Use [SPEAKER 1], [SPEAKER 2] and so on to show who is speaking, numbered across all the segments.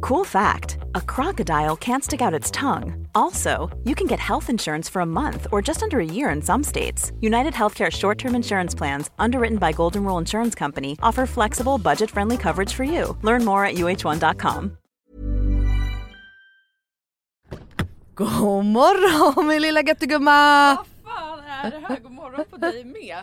[SPEAKER 1] Cool fact a crocodile can't stick out its tongue. Also, you can get health insurance for a month or just under a year in some states. United Healthcare short term insurance plans, underwritten by Golden Rule Insurance Company, offer flexible, budget friendly coverage for you. Learn more at uh1.com.
[SPEAKER 2] God morgon min lilla göttegumma!
[SPEAKER 3] fan är det här? God morgon på dig med.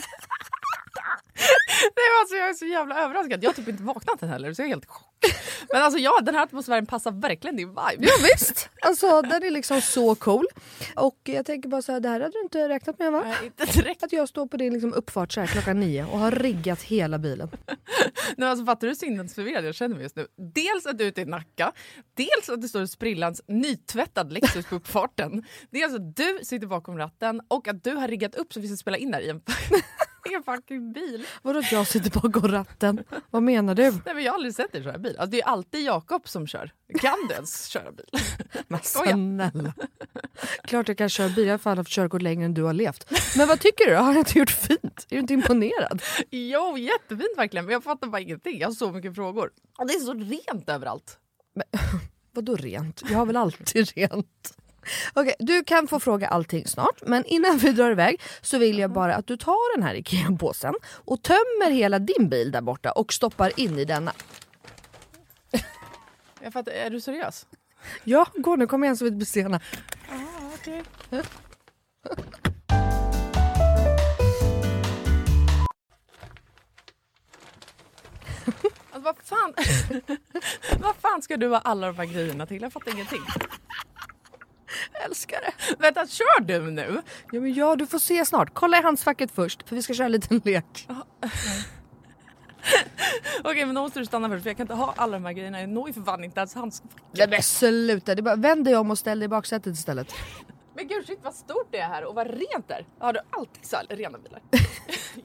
[SPEAKER 3] Nej, men alltså, jag är så jävla överraskad. Jag har typ inte vaknat än heller så jag är helt i chock. Men alltså ja, den här atmosfären passar verkligen din vibe.
[SPEAKER 2] Ja, visst, alltså den är liksom så cool. Och jag tänker bara så här, det här hade du inte räknat med va?
[SPEAKER 3] Nej, inte direkt.
[SPEAKER 2] Att jag står på din liksom uppfart så här klockan nio och har riggat hela bilen.
[SPEAKER 3] Nej, alltså, fattar du sinnesförvirrad jag känner mig just nu? Dels att du är ute i Nacka, dels att det står en sprillans nytvättad Lexus på uppfarten. Dels att du sitter bakom ratten och att du har riggat upp så vi ska spela in där i en, i en fucking bil.
[SPEAKER 2] Vadå att jag sitter bakom ratten? Vad menar du?
[SPEAKER 3] Nej, men jag har aldrig sett dig köra bil. Alltså, det är ju alltid Jakob som kör. Kan du ens köra bil? Skoja.
[SPEAKER 2] Snälla. Klart jag kan köra bil, jag har fan haft körkort längre än du har levt. Men vad tycker du? Har jag inte gjort fint? Är du inte imponerad?
[SPEAKER 3] Jo, jättefint verkligen. Men jag fattar bara ingenting. Jag har så mycket frågor. Och det är så rent överallt.
[SPEAKER 2] Vadå rent? Jag har väl alltid rent? Okej, du kan få fråga allting snart, men innan vi drar iväg så vill jag bara att du tar den här IKEA-påsen och tömmer hela din bil där borta och stoppar in i denna.
[SPEAKER 3] Jag fattar, är du seriös?
[SPEAKER 2] Ja, gå nu, kom igen så vi inte blir sena.
[SPEAKER 3] Alltså, vad, fan... vad fan ska du ha alla de här grejerna till? Jag fattar ingenting.
[SPEAKER 2] Jag älskar det.
[SPEAKER 3] Vänta, kör du nu?
[SPEAKER 2] Ja, men ja, du får se snart. Kolla i handskfacket först, för vi ska köra en liten lek.
[SPEAKER 3] Okej, men då måste du stanna först för jag kan inte ha alla de här grejerna. Jag når ju för fan inte ens handskfacket.
[SPEAKER 2] Nej men sluta, det är bara, vänd dig om och ställ dig i baksätet istället.
[SPEAKER 3] Men gud shit vad stort det är här och vad rent det är. Har du alltid så här rena bilar?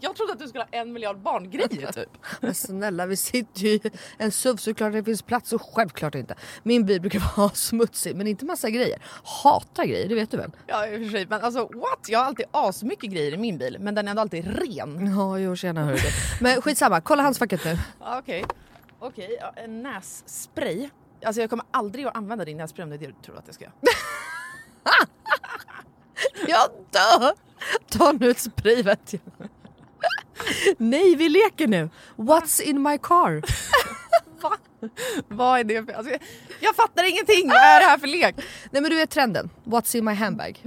[SPEAKER 3] jag trodde att du skulle ha en miljard barngrejer typ.
[SPEAKER 2] Men snälla vi sitter ju i en SUV så klart det finns plats och självklart inte. Min bil brukar vara smutsig men inte massa grejer. Hata grejer, det vet du väl?
[SPEAKER 3] Ja i och för sig men alltså what? Jag har alltid asmycket grejer i min bil men den är ändå alltid ren.
[SPEAKER 2] Ja jo tjena hörru du. Men skitsamma, kolla handskfacket nu.
[SPEAKER 3] Ja, Okej. Okej, ja, en nässpray. Alltså jag kommer aldrig att använda din nässpray om det är det du tror att jag ska göra.
[SPEAKER 2] Jag dör! Ta nu ett spray vet jag. Nej vi leker nu! What's in my car?
[SPEAKER 3] Va? Vad är det för... Alltså, jag, jag fattar ingenting! Vad är det här för lek?
[SPEAKER 2] Nej men du vet trenden, what's in my handbag?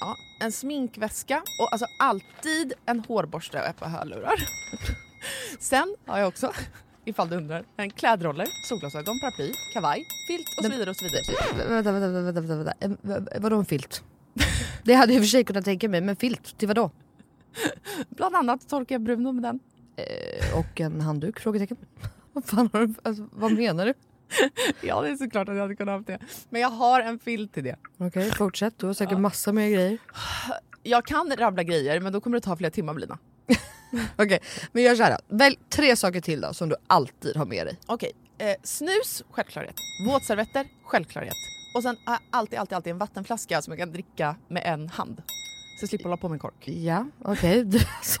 [SPEAKER 3] Ja, en sminkväska och alltså alltid en hårborste och ett par hörlurar. Sen har jag också, ifall du undrar, en klädroller, solglasögon, paraply, kavaj, filt och så vidare och så vidare.
[SPEAKER 2] Vänta, vänta, vänta, vänta, vänta. Eh, v- Vadå en filt? Det hade jag i och för sig kunnat tänka mig, men filt till vadå?
[SPEAKER 3] Bland annat torkar jag Bruno med den.
[SPEAKER 2] Eh, Och en handduk? Frågetecken. Vad fan har du, alltså, vad menar du?
[SPEAKER 3] Ja, det är såklart att jag hade kunnat ha haft det. Men jag har en filt till det.
[SPEAKER 2] Okej, fortsätt. Du har säkert massa mer grejer.
[SPEAKER 3] Jag kan rabbla grejer, men då kommer det ta flera timmar Lina.
[SPEAKER 2] Okej, men gör så här då. Välj tre saker till då som du alltid har med dig.
[SPEAKER 3] Okej, eh, snus, självklarhet. Våtservetter, självklarhet. Och sen har jag alltid, alltid, alltid en vattenflaska som jag kan dricka med en hand. Så jag slipper hålla på med en kork.
[SPEAKER 2] Ja, okej. Du, alltså,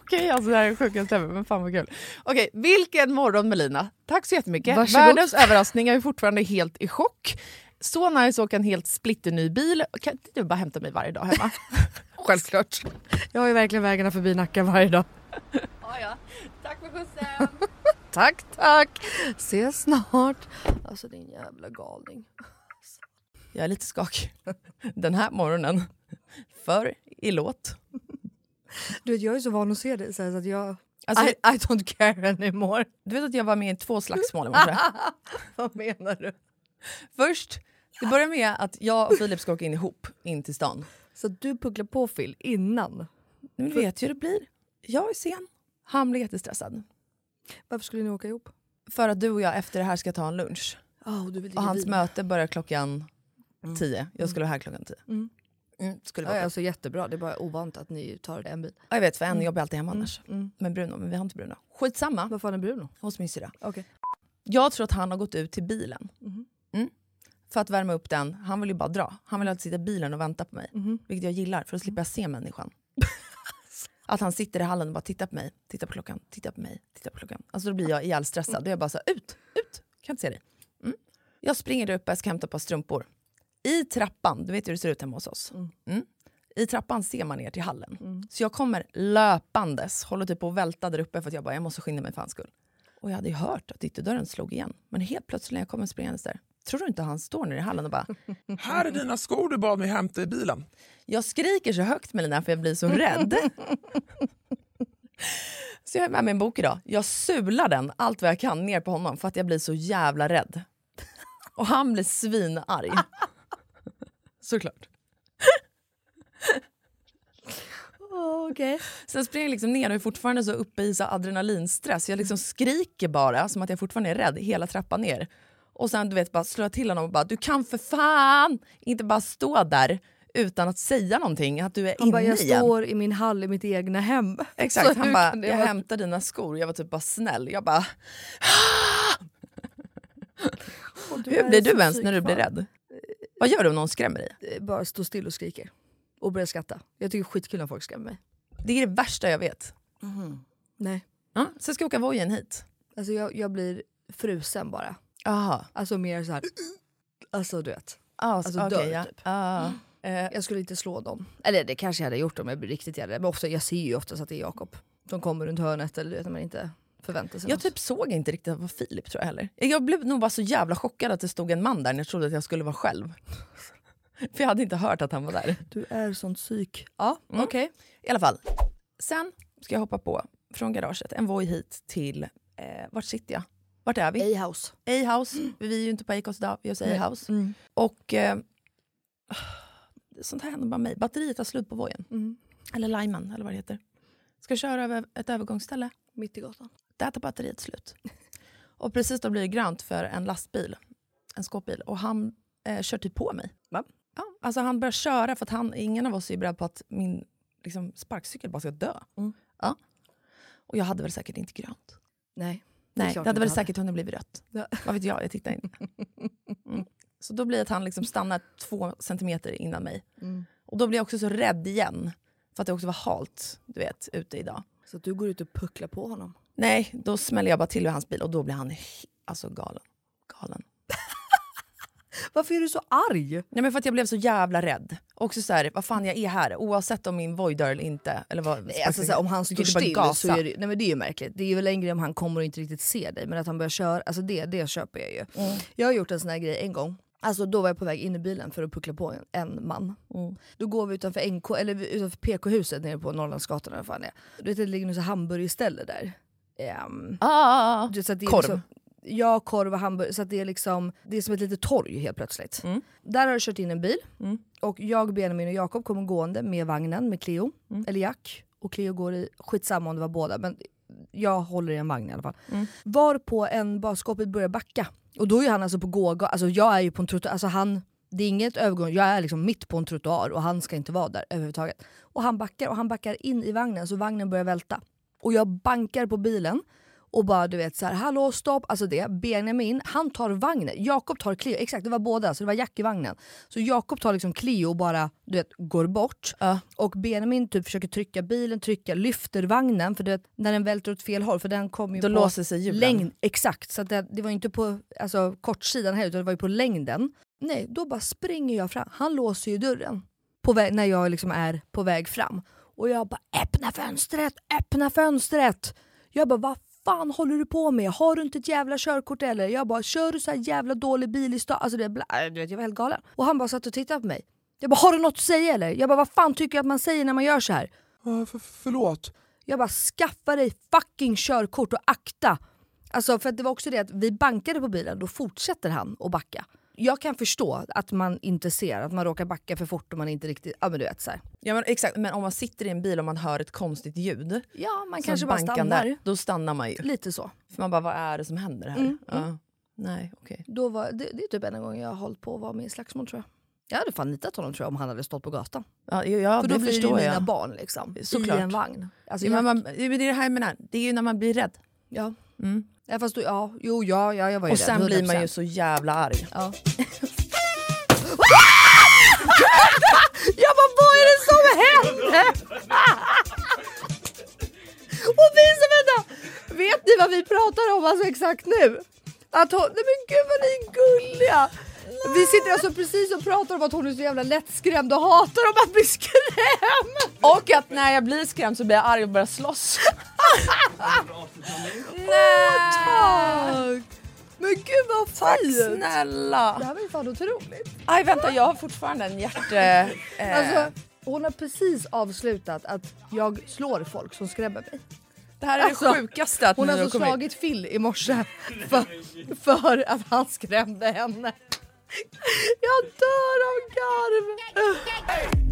[SPEAKER 3] Okej, alltså det här är sjukast ever, men fan vad kul. Okej, vilken morgon Melina. Tack så jättemycket.
[SPEAKER 2] Varsågod.
[SPEAKER 3] Världens överraskning, jag är fortfarande helt i chock. Så nice att åka en helt splitterny bil. Kan inte du bara hämta mig varje dag hemma?
[SPEAKER 2] Självklart. Jag har ju verkligen vägarna förbi Nacka varje dag.
[SPEAKER 3] Tack för skjutsen.
[SPEAKER 2] Tack, tack. Ses snart. Alltså din jävla galning.
[SPEAKER 3] Jag är lite skakig den här morgonen. För i låt.
[SPEAKER 2] Du vet, jag är så van att se dig så, här, så att jag...
[SPEAKER 3] Alltså,
[SPEAKER 2] I don't care anymore.
[SPEAKER 3] du vet att jag var med i två slagsmål i morse?
[SPEAKER 2] Vad menar du?
[SPEAKER 3] Först, det började med att jag och Filip ska åka in ihop in till stan.
[SPEAKER 2] Så att du pucklar på Phil innan.
[SPEAKER 3] Men du vet ju hur det blir. Jag är sen, han blir jättestressad.
[SPEAKER 2] Varför skulle ni åka ihop?
[SPEAKER 3] För att du och jag efter det här ska ta en lunch.
[SPEAKER 2] Oh, du vill Mm.
[SPEAKER 3] Och hans möte börjar klockan tio. Jag skulle vara här klockan tio. Mm. skulle vara
[SPEAKER 2] Ja, alltså jättebra, det är bara ovant att ni tar en bil. Mm.
[SPEAKER 3] Ja, jag vet, för en jobbar alltid hemma annars. Men Bruno, men vi har inte Bruno. Skitsamma,
[SPEAKER 2] Vad fan är Bruno?
[SPEAKER 3] hos min syrra.
[SPEAKER 2] Okej.
[SPEAKER 3] Jag tror att han har gått ut till bilen. Mm. För att värma upp den. Han vill ju bara dra. Han vill alltid sitta i bilen och vänta på mig. Vilket jag gillar, för då slipper jag se människan. Att han sitter i hallen och bara tittar på mig, tittar på klockan, tittar på mig, tittar på klockan. Alltså då blir jag ihjälstressad. Då är jag bara så här, ut, ut, kan inte se dig. Mm. Jag springer där uppe, jag ska hämta ett par strumpor. I trappan, du vet hur det ser ut hemma hos oss. Mm. I trappan ser man ner till hallen.
[SPEAKER 2] Mm.
[SPEAKER 3] Så jag kommer löpandes, håller typ på att välta där uppe för att jag bara, jag måste skynda mig för hans skull. Och jag hade ju hört att ytterdörren slog igen. Men helt plötsligt när jag kommer springandes där, tror du inte han står nere i hallen och bara
[SPEAKER 4] Här är dina skor du bad mig hämta i bilen.
[SPEAKER 3] Jag skriker så högt Melina för jag blir så rädd. så jag har med mig en bok idag. Jag sular den allt vad jag kan ner på honom för att jag blir så jävla rädd. Och han blir svinarg. Såklart.
[SPEAKER 2] Okej.
[SPEAKER 3] Sen springer jag liksom ner och är fortfarande så uppe i så adrenalinstress. Jag liksom skriker bara som att jag fortfarande är rädd hela trappan ner. Och sen du vet bara slår jag till honom och bara du kan för fan inte bara stå där utan att säga någonting att du är
[SPEAKER 2] Han
[SPEAKER 3] inne
[SPEAKER 2] bara, jag
[SPEAKER 3] igen.
[SPEAKER 2] står i min hall i mitt egna hem.
[SPEAKER 3] Exakt,
[SPEAKER 2] Så
[SPEAKER 3] han
[SPEAKER 2] hur
[SPEAKER 3] bara,
[SPEAKER 2] kan det
[SPEAKER 3] jag
[SPEAKER 2] vara-
[SPEAKER 3] hämtar dina skor. Jag var typ bara snäll. Jag bara,
[SPEAKER 2] Åh, du
[SPEAKER 3] hur
[SPEAKER 2] är
[SPEAKER 3] blir
[SPEAKER 2] så
[SPEAKER 3] du ens när du blir
[SPEAKER 2] psykfall.
[SPEAKER 3] rädd? Vad gör du om någon skrämmer dig?
[SPEAKER 2] Bara stå still och skriker. Och börja skratta. Jag tycker skitkul när folk skrämmer mig.
[SPEAKER 3] Det är det värsta jag vet.
[SPEAKER 2] Nej.
[SPEAKER 3] Ja, sen ska jag åka Vojen hit.
[SPEAKER 2] Alltså jag, jag blir frusen bara.
[SPEAKER 3] Jaha,
[SPEAKER 2] Alltså mer så här. Alltså du vet.
[SPEAKER 3] alltså,
[SPEAKER 2] Alltså,
[SPEAKER 3] okej,
[SPEAKER 2] dör
[SPEAKER 3] ja.
[SPEAKER 2] typ.
[SPEAKER 3] Ah. Eh,
[SPEAKER 2] Jag skulle inte slå dem. Eller det kanske jag hade gjort om jag blev riktigt jävla Men ofta, jag ser ju oftast att det är Jakob. De kommer runt hörnet eller du vet när man inte förväntar sig
[SPEAKER 3] jag
[SPEAKER 2] något.
[SPEAKER 3] typ såg inte riktigt att det var Filip tror jag heller. Jag blev nog bara så jävla chockad att det stod en man där när jag trodde att jag skulle vara själv. För jag hade inte hört att han var där.
[SPEAKER 2] Du är sånt psyk. Mm. Ja, okej.
[SPEAKER 3] I alla fall. Sen ska jag hoppa på från garaget, en Voi hit till, eh, vart sitter jag? Vart är vi?
[SPEAKER 2] A-house. Mm.
[SPEAKER 3] A-house. Vi är ju inte på Acast idag, vi är hos A-house.
[SPEAKER 5] Mm.
[SPEAKER 3] Och eh, sånt här händer bara mig. Batteriet tar slut på vojen.
[SPEAKER 2] Mm.
[SPEAKER 3] Eller limen, eller vad det heter. Ska köra över ett övergångsställe.
[SPEAKER 2] Mitt i gatan.
[SPEAKER 3] Där tar batteriet slut. Och precis då blir det grönt för en lastbil, en skåpbil. Och han eh, kör typ på mig.
[SPEAKER 5] Va?
[SPEAKER 3] Ja, alltså han börjar köra för att han, ingen av oss är ju beredd på att min liksom, sparkcykel bara ska dö.
[SPEAKER 5] Mm.
[SPEAKER 3] Ja. Och jag hade väl säkert inte grönt.
[SPEAKER 2] Nej. är
[SPEAKER 3] Nej, det
[SPEAKER 2] klart
[SPEAKER 3] hade
[SPEAKER 2] du
[SPEAKER 3] väl
[SPEAKER 2] inte hade.
[SPEAKER 3] säkert hunnit bli rött. Vad vet jag, jag tittar inte. Mm. Så då blir det att han liksom stannar två centimeter innan mig.
[SPEAKER 2] Mm.
[SPEAKER 3] Och då blir jag också så rädd igen. För att det också var halt, du vet, ute idag.
[SPEAKER 2] Så att du går ut och pucklar på honom.
[SPEAKER 3] Nej, då smäller jag bara till i hans bil och då blir han he- alltså galen. galen.
[SPEAKER 2] Varför är du så arg?
[SPEAKER 3] Nej, men för att jag blev så jävla rädd. Också så här, vad fan jag är här, oavsett om min void dör eller inte. Eller vad,
[SPEAKER 2] Nej, alltså, såhär, om han står
[SPEAKER 3] Skulle
[SPEAKER 2] still
[SPEAKER 3] bara
[SPEAKER 2] så
[SPEAKER 3] gasa.
[SPEAKER 2] är det, nej, men det är ju märkligt. Det är väl en grej om han kommer och inte riktigt ser dig men att han börjar köra, alltså det, det köper jag ju.
[SPEAKER 3] Mm.
[SPEAKER 2] Jag har gjort en sån här grej en gång. Alltså då var jag på väg in i bilen för att puckla på en, en man.
[SPEAKER 3] Mm.
[SPEAKER 2] Då går vi utanför, NK, eller vi- utanför PK-huset nere på Norrlandsgatan eller vad fan det är. Du vet det ligger något så här hamburgerställe där. Ehm,
[SPEAKER 3] Ah,
[SPEAKER 2] du vet, så att det är
[SPEAKER 3] Korv.
[SPEAKER 2] Liksom, ja, korv och hamburgare. Så att det, är liksom, det är som ett litet torg helt plötsligt.
[SPEAKER 3] Mm.
[SPEAKER 2] Där har det kört in en bil. Och jag, Benjamin och Jakob kommer gående med vagnen med Cleo,
[SPEAKER 3] Mm.
[SPEAKER 2] eller Jack. Och Cleo går i, skitsamma om det var båda, men jag håller i en vagn i alla fall. Var på en baskåpet börjar backa. Och då är han alltså på gåga, alltså jag är ju på en trottoar, alltså han, det är inget övergång, jag är liksom mitt på en trottoar och han ska inte vara där överhuvudtaget. Och han backar och han backar in i vagnen så vagnen börjar välta. Och jag bankar på bilen och bara du vet så här, hallå stopp, alltså det. Benjamin, han tar vagnen. Jakob tar Cleo, exakt det var båda, så det var Jack i vagnen. Så Jakob tar liksom Cleo och bara du vet, går bort. Och Benjamin typ försöker trycka bilen, trycka, lyfter vagnen för du vet, när den välter åt fel håll, för den kom ju
[SPEAKER 3] Då
[SPEAKER 2] på
[SPEAKER 3] låser sig hjulen.
[SPEAKER 2] längd. Exakt, så att det, det var ju inte på alltså, kortsidan här utan det var ju på längden. Nej, då bara springer jag fram. Han låser ju dörren på väg, när jag liksom är på väg fram. Och jag bara öppna fönstret, öppna fönstret. Jag bara vad fan håller du på med? Har du inte ett jävla körkort eller? Jag bara kör du så här jävla dålig bil i stan? Alltså det, är bla, äh, du vet, jag var helt galen. Och han bara satt och tittade på mig. Jag bara har du något att säga eller? Jag bara vad fan tycker jag att man säger när man gör så här?
[SPEAKER 6] Uh, för, förlåt.
[SPEAKER 2] Jag bara skaffa dig fucking körkort och akta. Alltså för att det var också det att vi bankade på bilen, då fortsätter han att backa. Jag kan förstå att man inte ser, att man råkar backa för fort och man inte riktigt, ja men du vet så här.
[SPEAKER 3] Ja, men, exakt. Men om man sitter i en bil och man hör ett konstigt ljud.
[SPEAKER 2] Ja man
[SPEAKER 3] som
[SPEAKER 2] kanske bara
[SPEAKER 3] bankande,
[SPEAKER 2] stannar.
[SPEAKER 3] Då stannar man ju.
[SPEAKER 2] Lite så. Mm,
[SPEAKER 3] För man bara, vad är det som händer här? Ja. Nej, okej.
[SPEAKER 2] Då var, det, det är typ enda gången jag har hållit på att vara med i slagsmål tror jag. Jag hade fan nitat honom tror jag om han hade stått på gatan.
[SPEAKER 3] Ja, ja, ja,
[SPEAKER 2] För då
[SPEAKER 3] det
[SPEAKER 2] blir det ju
[SPEAKER 3] förstår
[SPEAKER 2] mina
[SPEAKER 3] jag.
[SPEAKER 2] barn liksom.
[SPEAKER 3] Såklart.
[SPEAKER 2] I en vagn. Alltså,
[SPEAKER 3] Ja, men
[SPEAKER 2] jag,
[SPEAKER 3] man, det är det här jag menar, det är ju när man blir rädd. Mm.
[SPEAKER 2] ja. ja fast då, ja, jo ja, ja jag var ju
[SPEAKER 3] Och sen
[SPEAKER 2] rädd,
[SPEAKER 3] blir man ju
[SPEAKER 2] 100%.
[SPEAKER 3] så jävla arg.
[SPEAKER 2] Ja. jag bara, vad är det som händer? Och vi som, vänta, vet ni vad vi pratar om alltså exakt nu? Att hon, nej men gud vad ni är gulliga! Vi sitter alltså precis och pratar om att hon är så jävla lättskrämd och hatar om att bli skrämd!
[SPEAKER 3] Och att när jag blir skrämd så blir jag arg och börjar slåss.
[SPEAKER 2] Tack! Men gud vad fint! Det
[SPEAKER 3] Snälla!
[SPEAKER 2] här var ju fan otroligt.
[SPEAKER 3] Aj vänta jag har fortfarande en hjärte... Eh,
[SPEAKER 2] Alltså, hon har precis avslutat att jag slår folk som skrämmer mig.
[SPEAKER 3] det här är
[SPEAKER 2] alltså,
[SPEAKER 3] det sjukaste att
[SPEAKER 2] Hon
[SPEAKER 3] ni
[SPEAKER 2] har alltså
[SPEAKER 3] kommit.
[SPEAKER 2] slagit Phil i morse för, för att han skrämde henne. Jag dör av garv!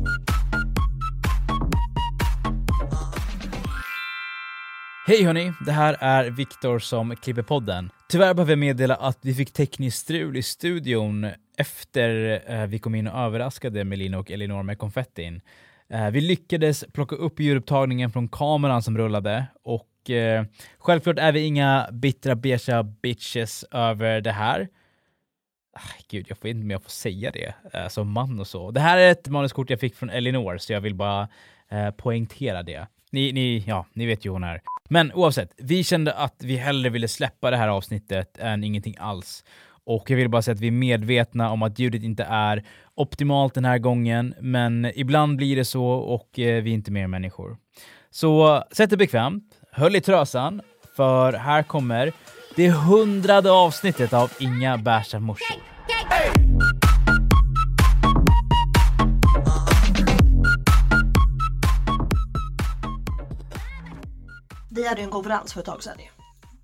[SPEAKER 7] Hej hörni, det här är Viktor som klipper podden. Tyvärr behöver jag meddela att vi fick tekniskt strul i studion efter eh, vi kom in och överraskade Melina och Elinor med konfettin. Eh, vi lyckades plocka upp ljudupptagningen från kameran som rullade och eh, självklart är vi inga bittra beiga bitches över det här. Ah, Gud, jag får inte med att få säga det eh, som man och så. Det här är ett manuskort jag fick från Elinor, så jag vill bara eh, poängtera det. Ni, ni, ja, ni vet ju hur hon är. Men oavsett, vi kände att vi hellre ville släppa det här avsnittet än ingenting alls. Och jag vill bara säga att vi är medvetna om att ljudet inte är optimalt den här gången, men ibland blir det så och eh, vi är inte mer människor. Så sätt er bekvämt, höll i trösan, för här kommer det hundrade avsnittet av Inga bärsa morsor.
[SPEAKER 8] Vi hade ju Mm. en konferens för ett tag sedan ju.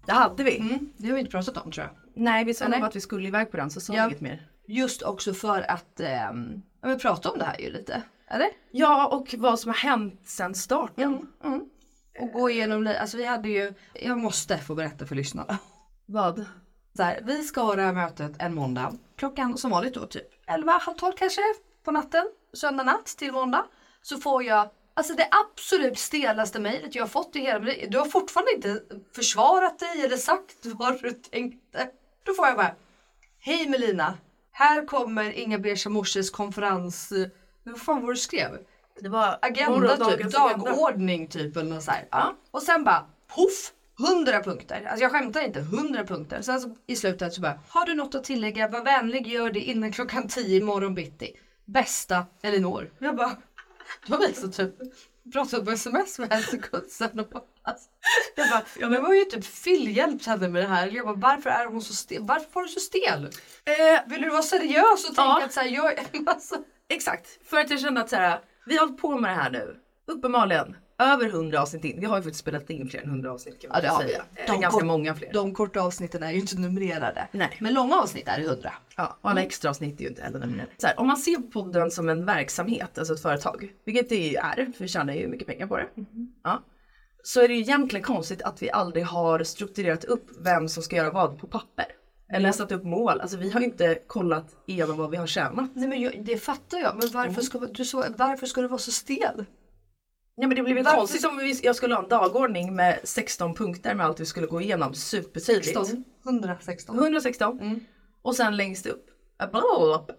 [SPEAKER 3] Det hade vi.
[SPEAKER 2] Det har vi inte pratat om tror jag.
[SPEAKER 3] Nej, vi sa
[SPEAKER 2] Eller?
[SPEAKER 3] bara att vi skulle iväg på den så sa vi
[SPEAKER 2] Ja.
[SPEAKER 3] inget mer.
[SPEAKER 2] Just också för att ehm, ja, men prata om det här ju lite. Eller?
[SPEAKER 3] Ja, och vad som har hänt sen starten.
[SPEAKER 2] Mm. Och gå igenom lite. Alltså vi hade ju, jag måste få berätta för lyssnarna.
[SPEAKER 3] Vad?
[SPEAKER 2] Så här, vi ska ha det här mötet en måndag. Klockan som vanligt då typ 11, halv 12 kanske på natten. Söndag natt till måndag. Så får jag Alltså det absolut stelaste mejlet jag har fått i hela mitt Du har fortfarande inte försvarat dig eller sagt vad du tänkte. Då får jag bara Hej Melina! Här kommer Inga Beige Morses konferens... eh, Vad fan var det du skrev?
[SPEAKER 3] Det var
[SPEAKER 2] agenda typ,
[SPEAKER 3] morgondagens agenda.
[SPEAKER 2] dagordning typ eller något så här. Ja. Och sen bara poff! 100 punkter. Alltså jag skämtar inte, 100 punkter. Sen så, i slutet så bara, har du något att tillägga? Var vänlig, gör det innan klockan 10 imorgon bitti. Bästa Elinor. Jag bara, då har vi alltså typ pratat på sms med en sekund sen och bara, alltså, jag bara, ja, men... det var ju typ Phil hjälpt henne med det här. Jag bara, varför är hon så stel? Varför var du så stel?
[SPEAKER 3] Eh,
[SPEAKER 2] Vill du vara seriös och tänka
[SPEAKER 3] Ja.
[SPEAKER 2] att så här, jag alltså,
[SPEAKER 3] Exakt, för att jag kände att så här, vi har hållit på med det här nu. Uppenbarligen över 100 avsnitt in. Vi har ju faktiskt spelat in fler än 100 avsnitt kan man
[SPEAKER 2] Ja, det har vi.
[SPEAKER 3] säga. Eh,
[SPEAKER 2] De
[SPEAKER 3] Ganska
[SPEAKER 2] kom-
[SPEAKER 3] många fler.
[SPEAKER 2] De korta avsnitten är ju inte numrerade.
[SPEAKER 3] Nej.
[SPEAKER 2] Men långa avsnitt är Mm. det 100.
[SPEAKER 3] Ja, och alla extra avsnitt är ju inte heller numrerade. Så här, om man ser podden som en verksamhet, alltså ett företag, vilket det ju är, för vi tjänar ju mycket pengar på det. Ja. Så är det ju egentligen konstigt att vi aldrig har strukturerat upp vem som ska göra vad på papper. Eller satt upp mål. Alltså vi har ju inte kollat igenom vad vi har tjänat.
[SPEAKER 2] Nej men jag, det fattar jag. Men
[SPEAKER 3] Mm.
[SPEAKER 2] varför ska, du, så, varför ska du vara så stel?
[SPEAKER 3] Nej men det blev väl
[SPEAKER 2] Varför-
[SPEAKER 3] konstigt om vi, jag skulle ha en dagordning med 16 punkter med allt vi skulle gå igenom supertydligt.
[SPEAKER 2] 116.
[SPEAKER 3] 116.
[SPEAKER 2] Mm.
[SPEAKER 3] Och sen längst upp. Blablabla.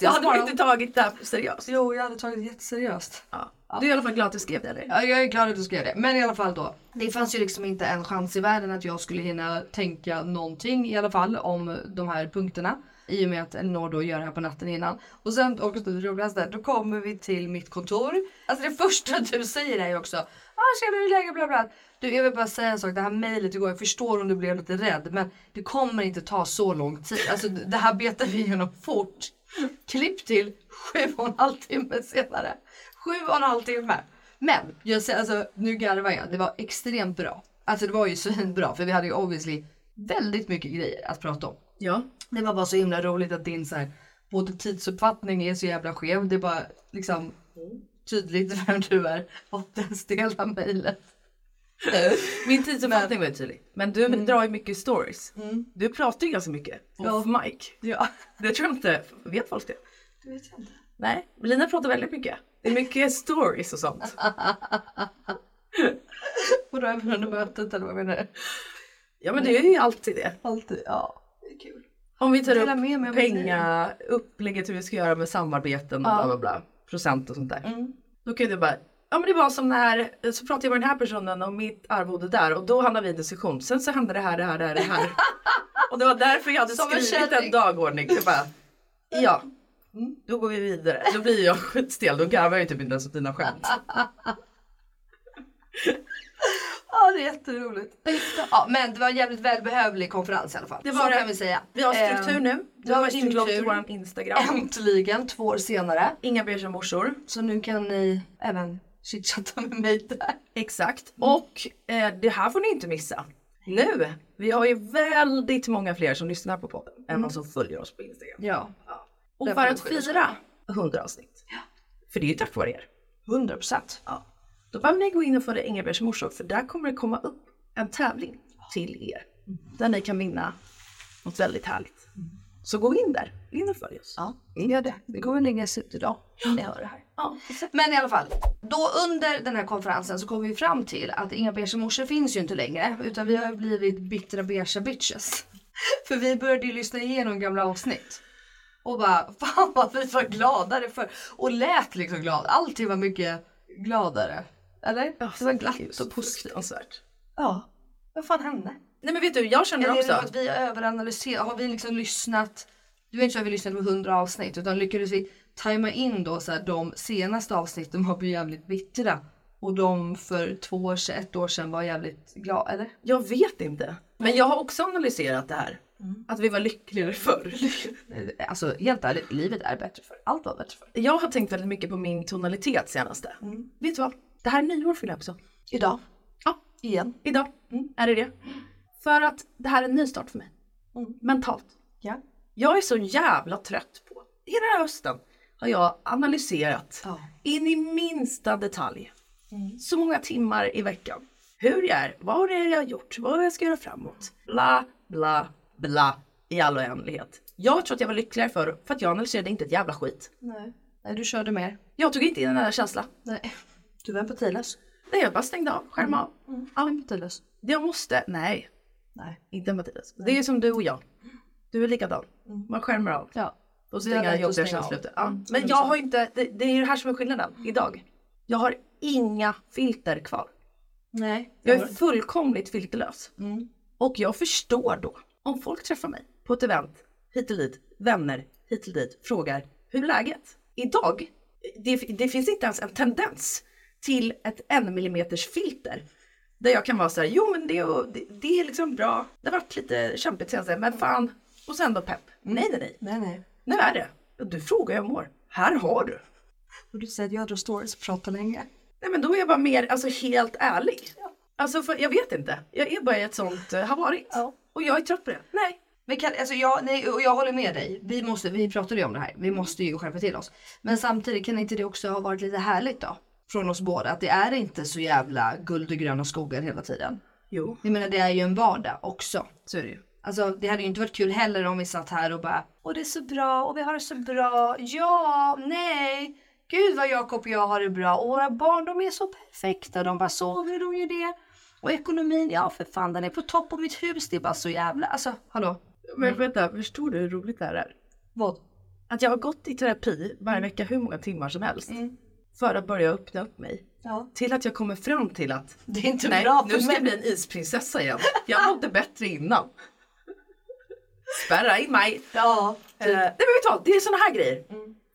[SPEAKER 3] Jag hade nog inte tagit det här seriöst.
[SPEAKER 2] Jo, jag hade tagit det jätteseriöst.
[SPEAKER 3] Ja. Du är i alla fall glad att du skrev det eller?
[SPEAKER 2] Ja, jag är glad att du skrev det. Men i alla fall då. Det fanns ju liksom inte en chans i världen att jag skulle hinna tänka någonting i alla fall om de här punkterna. I och med att Elinor då gör det här på natten innan. Och sen också det roligaste, då kommer vi till mitt kontor. Alltså det första du säger är ju också ah, “tjena hur är läget?” bla bla. Du jag vill bara säga en sak, det här mejlet igår, jag förstår om du blev lite rädd men det kommer inte ta så lång tid. Alltså det här betar vi igenom fort. Klipp till sju och en halv timme senare. Sju och en halv timme. Men jag säger alltså, nu garvar jag. Det var extremt bra. Alltså det var ju svinbra för vi hade ju obviously väldigt mycket grejer att prata om.
[SPEAKER 3] Ja.
[SPEAKER 2] Det var bara så himla roligt att din så här, både tidsuppfattning är så jävla skev. Det är bara liksom tydligt vem du är och den stela mejlet.
[SPEAKER 3] Min tidsuppfattning var ju tydlig. Men Mm. du drar ju mycket stories. Du pratar ju ganska mycket. Off mic.
[SPEAKER 2] Ja,
[SPEAKER 3] Det tror jag inte, vet folk det?
[SPEAKER 2] det vet jag inte.
[SPEAKER 3] Nej, Lina pratar väldigt mycket. Det är mycket stories och sånt.
[SPEAKER 2] Och då även under mötet eller vad menar du?
[SPEAKER 3] Ja men det är ju alltid det.
[SPEAKER 2] Alltid, ja. Det är kul.
[SPEAKER 3] Om vi tar
[SPEAKER 2] Dela
[SPEAKER 3] upp
[SPEAKER 2] med mig av
[SPEAKER 3] penga, upplägget hur vi ska göra med samarbeten och bla bla bla. Procent och sånt där.
[SPEAKER 2] Mm.
[SPEAKER 3] Då kan ju du bara, ja men det var som när, så pratade jag med den här personen om mitt arvode där och då hamnade vi i en diskussion. Sen så hände det här, det här, det här, det här. och det var därför jag hade
[SPEAKER 2] Som en
[SPEAKER 3] skrivit en
[SPEAKER 2] kärring.
[SPEAKER 3] dagordning. Jag bara, ja.
[SPEAKER 2] Mm.
[SPEAKER 3] Då går vi vidare. Då blir jag skitstel, då garvar jag ju typ inte ens åt dina skämt.
[SPEAKER 2] Ja, det är jätteroligt. Ja, men det var en jävligt välbehövlig konferens i alla fall.
[SPEAKER 3] Det
[SPEAKER 2] Det
[SPEAKER 3] var
[SPEAKER 2] var
[SPEAKER 3] det.
[SPEAKER 2] kan vi säga.
[SPEAKER 3] Vi har struktur
[SPEAKER 2] Ehm,
[SPEAKER 3] nu. Du
[SPEAKER 2] vi har
[SPEAKER 3] har inlogg till
[SPEAKER 2] struktur.
[SPEAKER 3] våran Instagram.
[SPEAKER 2] Äntligen, två år senare.
[SPEAKER 3] Inga beiga morsor.
[SPEAKER 2] Så nu kan ni även chitchatta med mig där. Mm.
[SPEAKER 3] Exakt. Och eh, det här får ni inte missa. Nu! Vi har ju väldigt många fler som lyssnar på podden
[SPEAKER 2] Mm.
[SPEAKER 9] Mm-hmm.
[SPEAKER 3] än vad som följer oss på Instagram.
[SPEAKER 2] Ja.
[SPEAKER 3] Mm. Och
[SPEAKER 2] där
[SPEAKER 3] för
[SPEAKER 2] får
[SPEAKER 3] att
[SPEAKER 2] vi skydda oss
[SPEAKER 3] fira 100 avsnitt. För det är ju tack vare er. 100 procent. Ja. Då behöver ni gå in och följa Inga-Bergs morsor för där kommer det komma upp en tävling till er.
[SPEAKER 2] Mm.
[SPEAKER 3] Där ni kan vinna något väldigt härligt. Så gå in där, in och följ oss.
[SPEAKER 2] Ja, gör det. Det går väl läggas ut idag när jag hör det här. Ja. Men i alla fall, då under den här konferensen så kom vi fram till att inga beige morsor finns ju inte längre utan vi har ju blivit bittra beige bitches. För vi började ju lyssna igenom gamla avsnitt. Och bara, fan vad vi var gladare för Och lät liksom glad. Allting var mycket gladare. Eller? Det var glatt och positivt.
[SPEAKER 3] Fruktansvärt.
[SPEAKER 2] Ja. Vad fan hände?
[SPEAKER 3] Nej men vet du, jag känner
[SPEAKER 2] Eller är det
[SPEAKER 3] också.
[SPEAKER 2] för att vi har överanalyserat? Har vi liksom lyssnat? Du vet inte så att vi lyssnat på 100 avsnitt utan lyckades vi tajma in då så här, de senaste avsnitten var ju jävligt bittra och de för två år sedan, ett år sedan var jävligt glada eller?
[SPEAKER 3] Jag vet inte. Men jag har också analyserat det här. Att vi var lyckligare förr.
[SPEAKER 2] Alltså helt ärligt, livet är bättre för Allt var bättre för
[SPEAKER 3] Jag har tänkt
[SPEAKER 2] Mm.
[SPEAKER 3] väldigt mycket på min tonalitet senaste. Vet du vad? Det här är nyår Filip också.
[SPEAKER 2] Idag.
[SPEAKER 3] Ja. Igen. Idag. Mm, är det det. För att det här är en ny start för mig. Mentalt.
[SPEAKER 2] Mm. Ja.
[SPEAKER 3] Jag är så jävla trött på. Hela den här hösten har jag analyserat
[SPEAKER 2] Ja. Mm.
[SPEAKER 3] in i minsta detalj. Så många timmar i veckan. Hur jag är, vad det är jag har gjort, vad jag ska göra framåt. Bla, bla, bla. I all oändlighet. Jag tror att jag var lyckligare förr för att jag analyserade inte ett jävla skit.
[SPEAKER 2] Nej. Nej, du körde mer.
[SPEAKER 3] Jag tog inte in en enda känsla.
[SPEAKER 2] Nej. Du var empatilös.
[SPEAKER 3] Nej, jag bara stängde av, skärm av.
[SPEAKER 2] Ja, empatilös.
[SPEAKER 3] Jag måste, nej,
[SPEAKER 2] Nej.
[SPEAKER 3] inte Mattias. Det är som du och jag. Du är likadan. Man skärmar av.
[SPEAKER 2] Mm. Ja.
[SPEAKER 3] Och så
[SPEAKER 2] Det är
[SPEAKER 3] inga
[SPEAKER 2] lätt att
[SPEAKER 3] jobbiga
[SPEAKER 2] stänga
[SPEAKER 3] känslor
[SPEAKER 2] av.
[SPEAKER 3] ute. Ja. Men jag har inte, det, det är det här som är
[SPEAKER 2] Mm.
[SPEAKER 3] skillnaden idag. Jag har inga filter kvar.
[SPEAKER 2] Nej.
[SPEAKER 3] Jag är fullkomligt filterlös.
[SPEAKER 2] Mm.
[SPEAKER 3] Och jag förstår då om folk träffar mig på ett event, hit och dit, vänner, hit och dit, frågar hur är läget? Idag, det, det finns inte ens en tendens till ett en millimeters filter. Där jag kan vara så här, jo men det, är- det, det är liksom bra, det har varit lite kämpigt senaste, men fan. Och sen då pepp, nej nej nej,
[SPEAKER 2] Mm. Nej, nej.
[SPEAKER 3] nu är det. Och Du frågar hur jag mår, här har du.
[SPEAKER 2] Och du säger att jag drar stories och pratar länge.
[SPEAKER 3] Nej men då är jag bara mer, alltså helt ärlig. Alltså för, jag vet inte, jag är bara i ett sånt, eh, har varit.
[SPEAKER 2] Ja.
[SPEAKER 3] Och jag är trött på det.
[SPEAKER 2] Nej. Men kan, alltså jag, nej, och jag håller med dig. Vi, måste, vi pratade ju om det här.
[SPEAKER 3] Mm.
[SPEAKER 2] Vi måste ju skärpa till oss. Men samtidigt kan inte det också ha varit lite härligt då? Från oss båda. Att det är inte så jävla guld och gröna skogar hela tiden.
[SPEAKER 3] Jo.
[SPEAKER 2] Jag menar det är ju en vardag också.
[SPEAKER 3] Så är det ju.
[SPEAKER 2] Alltså det hade ju inte varit kul heller om vi satt här och bara Åh det är så bra och vi har det så bra. Ja, nej. Gud vad Jakob och jag har det bra och våra barn de är så perfekta. De bara sover de gör det. Och ekonomin, ja för fan den är på topp och mitt hus det är bara så jävla, alltså hallå. Mm.
[SPEAKER 3] Men vänta, förstår du hur roligt det här är?
[SPEAKER 2] Vad?
[SPEAKER 3] Att jag har gått i terapi varje vecka hur många timmar som helst.
[SPEAKER 2] Mm.
[SPEAKER 3] För att börja öppna upp mig.
[SPEAKER 2] Ja.
[SPEAKER 3] Till att jag kommer fram till att
[SPEAKER 2] Det är inte
[SPEAKER 3] nej,
[SPEAKER 2] bra
[SPEAKER 3] nu
[SPEAKER 2] för
[SPEAKER 3] ska
[SPEAKER 2] mig.
[SPEAKER 3] jag bli en isprinsessa igen. Jag mådde bättre innan. Spärra in mig.
[SPEAKER 2] Ja. typ. Mm.
[SPEAKER 3] Eh, nej men vet du vad, det är såna här grejer.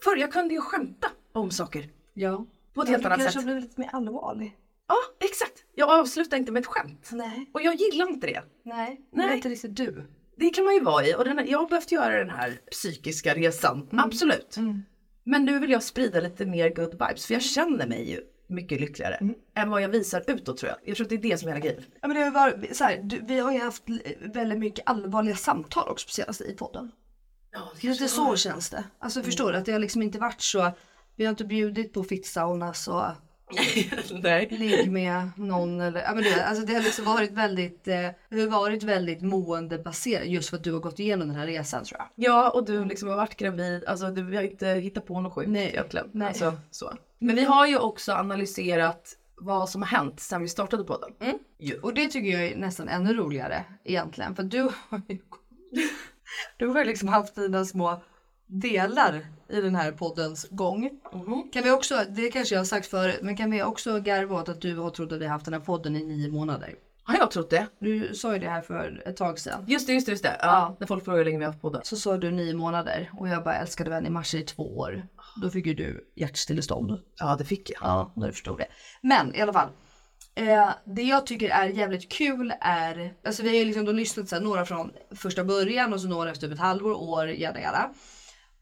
[SPEAKER 3] Förr jag kunde ju skämta om saker.
[SPEAKER 2] ja.
[SPEAKER 3] På ett helt annat sätt.
[SPEAKER 2] kanske blir lite mer allvarlig.
[SPEAKER 3] Ja exakt, jag avslutar inte med ett skämt.
[SPEAKER 2] Nej.
[SPEAKER 3] Och jag gillar inte det.
[SPEAKER 2] Nej.
[SPEAKER 3] Nej.
[SPEAKER 2] Det är inte riktigt du.
[SPEAKER 3] Det kan man ju vara i och den här, jag har behövt göra den här psykiska resan, absolut. Men nu vill jag sprida lite mer good vibes för jag känner mig ju mycket lyckligare än vad jag visar utåt tror jag. Jag tror att det är det som är hela grejen.
[SPEAKER 2] Ja, men det har ju varit, så här, du, vi har ju haft l- väldigt mycket allvarliga samtal också på senaste i podden. Lite så känns det. Alltså
[SPEAKER 3] Mm.
[SPEAKER 2] förstår du att det har liksom inte varit så. Vi har inte bjudit på fittsaunas och
[SPEAKER 3] Nej.
[SPEAKER 2] ligg med någon eller ja, men det, alltså det har liksom varit väldigt, eh, det har varit väldigt måendebaserat just för att du har gått igenom den här resan tror jag.
[SPEAKER 3] Ja och du liksom har varit gravid, alltså du vi har inte hittat på något sjukt
[SPEAKER 2] Nej.
[SPEAKER 3] egentligen.
[SPEAKER 2] Nej.
[SPEAKER 3] Alltså, så. Men vi har ju också analyserat vad som har hänt sedan vi startade podden.
[SPEAKER 2] Mm. Och det tycker jag är nästan ännu roligare egentligen för du har ju du har ju liksom haft dina små delar i den här poddens gång.
[SPEAKER 3] Mm-hmm.
[SPEAKER 2] Kan vi också, det kanske jag har sagt förut, men kan vi också garva åt att du har trott att vi har haft den här podden i nio månader?
[SPEAKER 3] Har jag trott det?
[SPEAKER 2] Du sa ju det här för ett tag sedan.
[SPEAKER 3] Just det, just det, just det. Ja. När folk frågar hur länge vi har haft podden.
[SPEAKER 2] Så sa du nio månader och jag bara älskade vän i mars i två år. Då fick ju du hjärtstillestånd.
[SPEAKER 3] Ja det fick jag.
[SPEAKER 2] Ja, nu förstod jag. Men i alla fall. Eh, det jag tycker är jävligt kul är, alltså vi har ju liksom då lyssnat så här, några från första början och så några efter typ ett halvår, år, jada jada.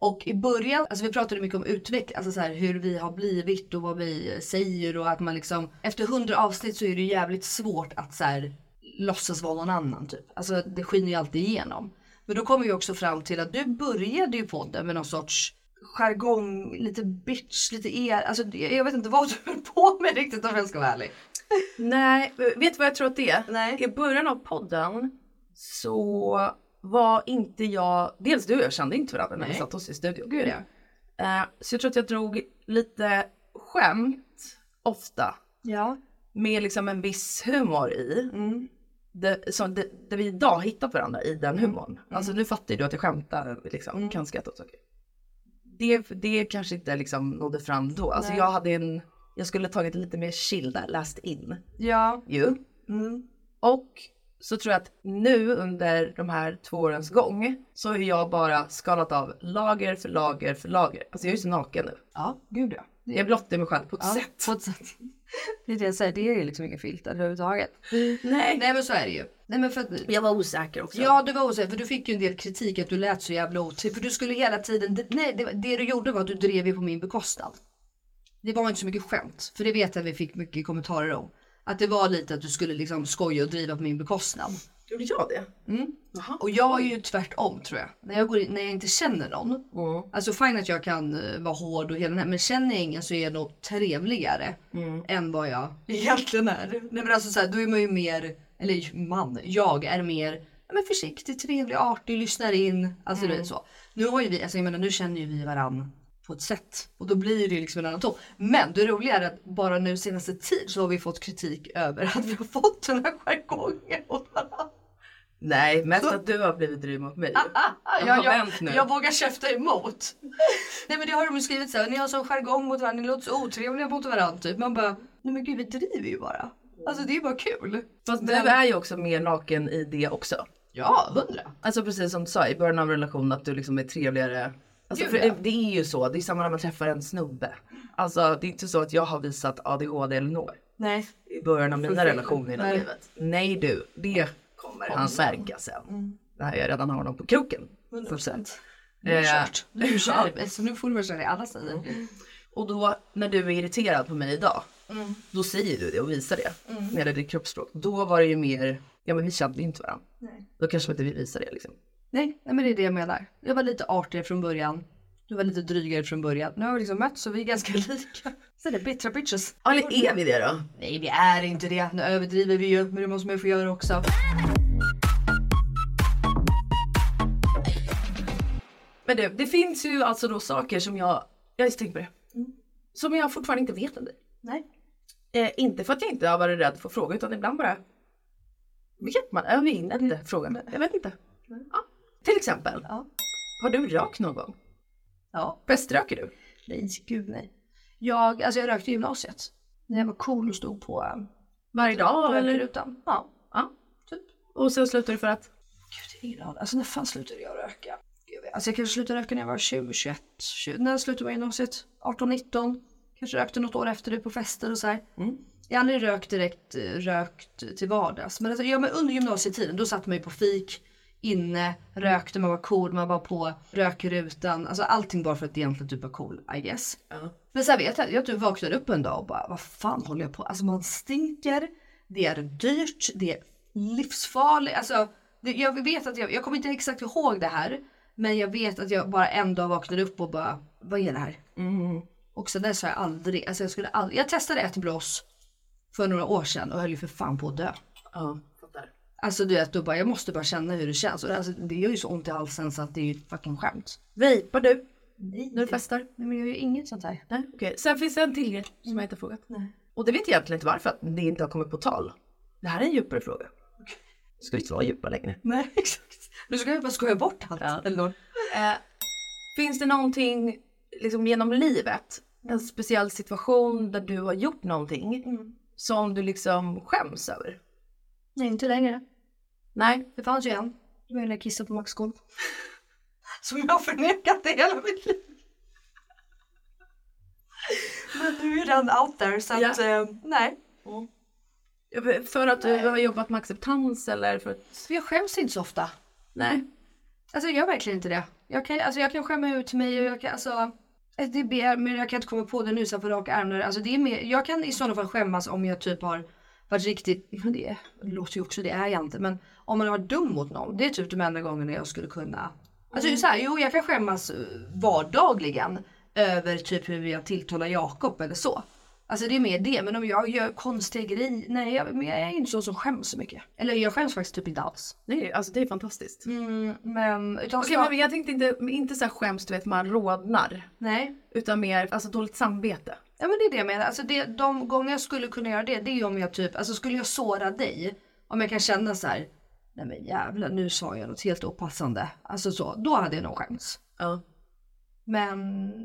[SPEAKER 2] Och i början, alltså vi pratade mycket om utveckling, alltså så här, hur vi har blivit och vad vi säger och att man liksom, efter hundra avsnitt så är det jävligt svårt att så här, låtsas vara någon annan typ. Alltså det skiner ju alltid igenom. Men då kommer vi också fram till att du började ju podden med någon sorts jargong, lite bitch, lite er. Alltså jag jag vet inte vad du höll på med riktigt om jag ska vara ärlig.
[SPEAKER 3] Nej, eh, vet du vad jag tror att det är?
[SPEAKER 2] Nej.
[SPEAKER 3] I början av podden så var inte jag, dels du och jag kände inte varandra när vi
[SPEAKER 2] Nej.
[SPEAKER 3] satt oss i studion.
[SPEAKER 2] Gud ja.
[SPEAKER 3] Eh, Så jag tror att jag drog lite skämt ofta
[SPEAKER 2] Ja.
[SPEAKER 3] med liksom en viss humor i.
[SPEAKER 2] Mm.
[SPEAKER 3] Det, som det, det vi idag hittar på varandra i den humorn.
[SPEAKER 2] Mm.
[SPEAKER 3] Alltså nu fattar ju du att jag skämtar liksom, kan skratta åt saker. Det, det kanske inte liksom nådde fram då. Alltså jag hade en, jag skulle tagit lite mer chill där, läst in
[SPEAKER 2] Ja. mm.
[SPEAKER 3] ju. Och så tror jag att nu under de här två årens gång så har jag bara skalat av lager för lager för lager. Alltså jag är ju så naken nu.
[SPEAKER 2] Ja, gud ja.
[SPEAKER 3] Jag blottar mig själv på ett sätt.
[SPEAKER 2] På ett sätt. Det är det jag säger, det är ju liksom inga filter överhuvudtaget.
[SPEAKER 3] Nej.
[SPEAKER 2] Nej men så är det ju. Nej men för att
[SPEAKER 3] Jag var osäker också.
[SPEAKER 2] Ja du var osäker för du fick ju en del kritik att du lät så jävla otrevlig. För du skulle hela tiden, det- nej det, var- det du gjorde var att du drev ju på min bekostnad. Det var inte så mycket skämt. För det vet jag att vi fick mycket kommentarer om. Att det var lite att du skulle liksom skoja och driva på min bekostnad.
[SPEAKER 3] Gjorde jag det?
[SPEAKER 2] Mm. Och jag är ju tvärtom tror jag. När jag, går in, när jag inte känner någon. Alltså fine att jag kan eh, vara hård och hela den här. Men känner jag ingen så är jag nog trevligare än vad jag egentligen är. Nej men alltså så här, då är man ju mer, eller man, jag är mer ja, men försiktig, trevlig, artig, lyssnar in. Alltså du vet så. Nu har ju vi, alltså jag menar nu känner ju vi varann på ett sätt och då blir det liksom en annan ton. Men det roliga är att bara nu senaste tid så har vi fått kritik över att vi har fått den här jargongen åt varandra.
[SPEAKER 3] Nej, mest att du har blivit dryg mot mig.
[SPEAKER 2] Ah,
[SPEAKER 3] Jag
[SPEAKER 2] jag,
[SPEAKER 3] har
[SPEAKER 2] jag,
[SPEAKER 3] vänt nu.
[SPEAKER 2] jag vågar käfta emot. Nej men det har de ju skrivit såhär, ni har sån jargong mot varandra, ni låter så otrevliga mot varandra typ. Man bara, nej men gud vi driver ju bara. Alltså det är ju bara kul.
[SPEAKER 3] Fast du är ju också mer naken i det också.
[SPEAKER 2] Ja, hundra.
[SPEAKER 3] Alltså precis som du sa i början av en relation att du liksom är trevligare. Alltså,
[SPEAKER 2] Gud,
[SPEAKER 3] för
[SPEAKER 2] ja.
[SPEAKER 3] det, det är ju så, det är samma när man träffar en snubbe. Alltså det är inte så att jag har visat ADHD eller något
[SPEAKER 2] Nej.
[SPEAKER 3] i början av mina
[SPEAKER 2] Förfin-
[SPEAKER 3] relationer i det här
[SPEAKER 2] Nej. Mm.
[SPEAKER 3] livet. Nej du, det kommer han märka sen. När jag redan har dem på kroken. 100%.
[SPEAKER 2] Nu är det
[SPEAKER 3] Eh,
[SPEAKER 2] kört. Nu är det kört. Alltså, nu får du vara kär i alla sidor.
[SPEAKER 3] Mm. Och då när du är irriterad på mig idag,
[SPEAKER 2] Mm.
[SPEAKER 3] då säger du det och visar det när det gäller ditt kroppsspråk. Då var det ju mer, ja men vi kände ju inte varandra. Då kanske inte vi visar det liksom.
[SPEAKER 2] Nej, nej men det är det jag menar. Jag var lite artigare från början. Du var lite drygare från början. Nu har vi liksom mötts och vi är ganska lika. Så det är bittra bitches.
[SPEAKER 3] Ja, Eller är vi det då?
[SPEAKER 2] Nej vi är inte det. Nu överdriver vi ju men det måste man ju få göra också.
[SPEAKER 3] Men det, det finns ju alltså då saker som jag, jag har tänkt på det, som jag fortfarande inte vet om dig.
[SPEAKER 2] Mm. Nej.
[SPEAKER 3] Eh, inte för att jag inte har varit rädd för att fråga utan ibland bara vet man, jag vet inte frågan. Jag vet inte. Ja. Till exempel,
[SPEAKER 2] Mm. Ja.
[SPEAKER 3] har du rökt någon gång?
[SPEAKER 2] Ja.
[SPEAKER 3] Feströker du?
[SPEAKER 2] Nej gud nej. Jag, alltså jag rökte i gymnasiet. När jag var cool och stod på eh,
[SPEAKER 3] Varje dag eller?
[SPEAKER 2] rökrutan. Ja.
[SPEAKER 3] Ja.
[SPEAKER 2] Typ.
[SPEAKER 3] Och sen slutar du för att?
[SPEAKER 2] Gud, det är ingen aning. Alltså när fan slutade jag röka? Jag vet- Alltså jag kanske slutade röka när jag var 20, 21, 20. När jag slutade på gymnasiet? 18, 19. Kanske rökte något år efter det på fester och så här.
[SPEAKER 3] Mm.
[SPEAKER 2] Jag har aldrig rökt direkt, eh, rökt till vardags. Men alltså, ja, men under gymnasietiden då satt man ju på fik, inne, rökte, man var cool, man var på rökrutan. Alltså allting bara för att egentligen typ var cool I guess. Men sen vet jag, jag typ vaknade upp en dag och bara vad fan håller jag på Alltså man stinker, det är dyrt, det är livsfarligt. Alltså det, jag vet att jag, jag kommer inte exakt ihåg det här. Men jag vet att jag bara en dag vaknade upp och bara vad är det här?
[SPEAKER 3] Mm.
[SPEAKER 2] Och sen dess har jag aldrig, alltså jag skulle aldrig, jag testade ett bloss för några år sedan och höll ju för fan på att dö.
[SPEAKER 3] Ja, fattar.
[SPEAKER 2] Alltså du vet, då bara, jag måste bara känna hur det känns. Och alltså, det gör ju så ont i halsen så att det är ju ett fucking skämt.
[SPEAKER 3] Vejpar du?
[SPEAKER 2] Nej,
[SPEAKER 3] När du festar?
[SPEAKER 2] Nej men jag gör ju inget sånt här.
[SPEAKER 3] Nej, okej. Sen finns det en till grej som jag inte har frågat. Och det vet jag egentligen inte varför att det inte har kommit på tal. Det här är en djupare fråga. Det ska inte vara djupa längre.
[SPEAKER 2] Nej exakt. Nu ska jag bara skoja bort allt.
[SPEAKER 3] Ja.
[SPEAKER 2] Eller något.
[SPEAKER 3] Eh, finns det någonting liksom, genom livet, en speciell situation där du har gjort någonting
[SPEAKER 2] Mm.
[SPEAKER 3] som du liksom skäms över?
[SPEAKER 2] Nej inte längre.
[SPEAKER 3] Nej.
[SPEAKER 2] Det fanns ju en. Det var ju när jag kissade på Max golv. Som jag har förnekat i hela mitt liv. Men nu är den out there så att
[SPEAKER 3] Ja.
[SPEAKER 2] eh, nej.
[SPEAKER 3] Mm. För att du har jobbat med acceptans eller för att...
[SPEAKER 2] Så jag skäms inte så ofta.
[SPEAKER 3] Nej.
[SPEAKER 2] Alltså jag gör verkligen inte det. Jag kan, alltså, jag kan skämma ut mig och jag kan alltså. Det är mer, men jag kan inte komma på det nu så här på rak arm. Alltså det är mer, jag kan i sådana fall skämmas om jag typ har varit riktigt, men det låter ju också, det är jag inte, men om man har varit dum mot någon. Det är typ de enda gångerna jag skulle kunna. Alltså det är så här, jo jag kan skämmas eh, vardagligen över typ hur jag tilltalar Jakob eller så. Alltså det är mer det, men om jag gör konstiga grejer, nej jag, men jag är inte så som skäms så mycket. Eller jag skäms faktiskt typ inte alls.
[SPEAKER 3] Nej, alltså det är fantastiskt.
[SPEAKER 2] Mm, men utan
[SPEAKER 3] Okej, men jag tänkte inte, inte så här skäms du vet man rodnar.
[SPEAKER 2] Nej,
[SPEAKER 3] Utan mer alltså dåligt samvete.
[SPEAKER 2] ja, men det är det jag menar. Alltså det, de gånger jag skulle kunna göra det, det är ju om jag typ, alltså skulle jag såra dig, om jag kan känna så här, nej men jävlar nu sa jag något helt opassande. Alltså så, då hade jag nog skämts.
[SPEAKER 3] Ja.
[SPEAKER 2] Men,